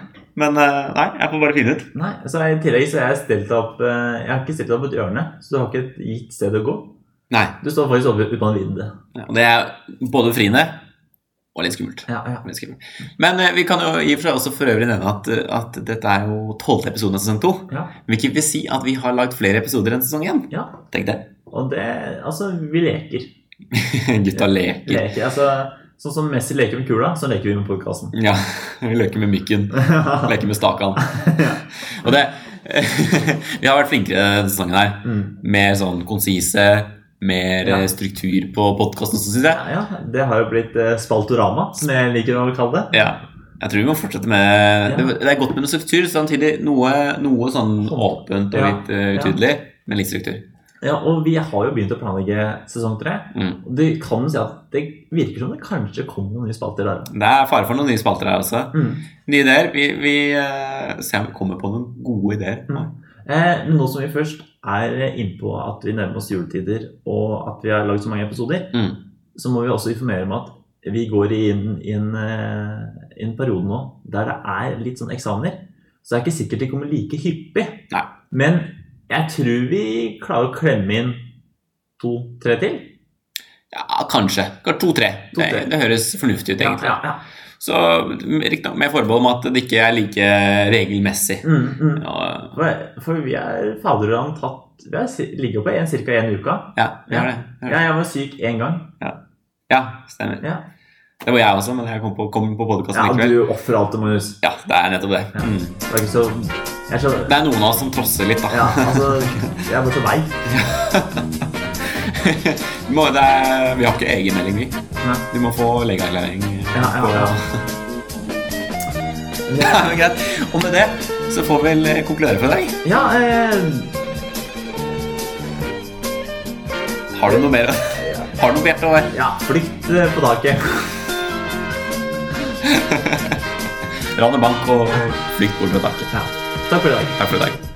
Speaker 1: men eh, nei, jeg får bare finne ut.
Speaker 2: nei. Så i tillegg så har jeg stelt deg opp eh, Jeg har ikke stelt deg opp et hjørne, så du har ikke et gitt sted å gå.
Speaker 1: Nei,
Speaker 2: Du står faktisk over uten å vite det.
Speaker 1: Og det er både befriende og litt skummelt.
Speaker 2: Ja, ja.
Speaker 1: Litt skummelt. Men eh, vi kan jo i og for seg også for øvrig nevne at, eh, at dette er jo tolvte episode av sesong to.
Speaker 2: Ja.
Speaker 1: Hvilket vil si at vi har lagd flere episoder enn sesong én.
Speaker 2: Ja.
Speaker 1: Tenk det. [laughs]
Speaker 2: Og det Altså, vi leker.
Speaker 1: Gutta leker.
Speaker 2: leker altså, sånn som Messi leker med kula, så leker vi med
Speaker 1: [laughs]
Speaker 2: podkasten.
Speaker 1: Ja, vi leker med mykken. Leker med
Speaker 2: [laughs]
Speaker 1: stakan. Og det [laughs] Vi har vært flinkere denne sesongen her.
Speaker 2: mm.
Speaker 1: Mer sånn konsise, mer
Speaker 2: Ja.
Speaker 1: eh, struktur på podkasten, syns jeg.
Speaker 2: ja, ja, det har jo blitt eh, spaltorama, som jeg liker å kalle det.
Speaker 1: Ja. Jeg tror vi må fortsette med
Speaker 2: Ja.
Speaker 1: det, det er godt med noe struktur, samtidig noe, noe sånn åpent og
Speaker 2: Ja.
Speaker 1: litt eh,
Speaker 2: Ja.
Speaker 1: utydelig. Men litt struktur.
Speaker 2: Ja, Og vi har jo begynt å planlegge sesong tre.
Speaker 1: Mm.
Speaker 2: Og det kan jo si at det virker som det kanskje kommer noen nye spalter der.
Speaker 1: Det er fare for noen nye spalter her også.
Speaker 2: Mm.
Speaker 1: Nye ideer. Vi, vi eh, ser om vi kommer på noen gode ideer.
Speaker 2: Mm. Eh, men nå som vi først er innpå at vi nærmer oss juletider, og at vi har lagd så mange episoder,
Speaker 1: Mm.
Speaker 2: så må vi også informere om at vi går inn i en, eh, en periode nå der det er litt sånn eksamener. Så det er ikke sikkert de kommer like hyppig.
Speaker 1: Nei.
Speaker 2: Men jeg tror vi klarer å klemme inn to-tre til.
Speaker 1: Ja, kanskje. To-tre. det,
Speaker 2: To-tre.
Speaker 1: det høres fornuftig ut, egentlig.
Speaker 2: Ja, ja, ja.
Speaker 1: Så riktignok med forbehold om at det ikke er like regelmessig.
Speaker 2: Mm, mm.
Speaker 1: Og,
Speaker 2: For, for vi er fader og tatt Vi er, si- ligger jo på en, ca. én uke.
Speaker 1: ja, vi har det. Vi har det.
Speaker 2: Ja, jeg var syk én gang.
Speaker 1: Ja, stemmer.
Speaker 2: Ja.
Speaker 1: Det var jeg også, men jeg kom på, kom på podkasten
Speaker 2: Ja,
Speaker 1: likevel.
Speaker 2: du ofrer alt til Magnus.
Speaker 1: Ja, det er nettopp det.
Speaker 2: Ja.
Speaker 1: Mm.
Speaker 2: Det er ikke så Jeg er så
Speaker 1: Det er noen av oss som trosser litt, da.
Speaker 2: Ja, altså Jeg er bare så lei.
Speaker 1: [laughs] Vi må, det er, vi har ikke egenmelding, vi.
Speaker 2: Nei.
Speaker 1: Du må få legeerklæring.
Speaker 2: Ja, ja, ja.
Speaker 1: [laughs] Det er jo greit. Og med det så får vi vel eh, konkludere for i dag.
Speaker 2: ja eh,
Speaker 1: Har du noe mer? Har du noe på hjertet? Håvard?
Speaker 2: ja, flykt eh, på taket.
Speaker 1: Ran og bank og flykt bort med taket.
Speaker 2: Ja. Takk for i dag.
Speaker 1: Takk for i dag.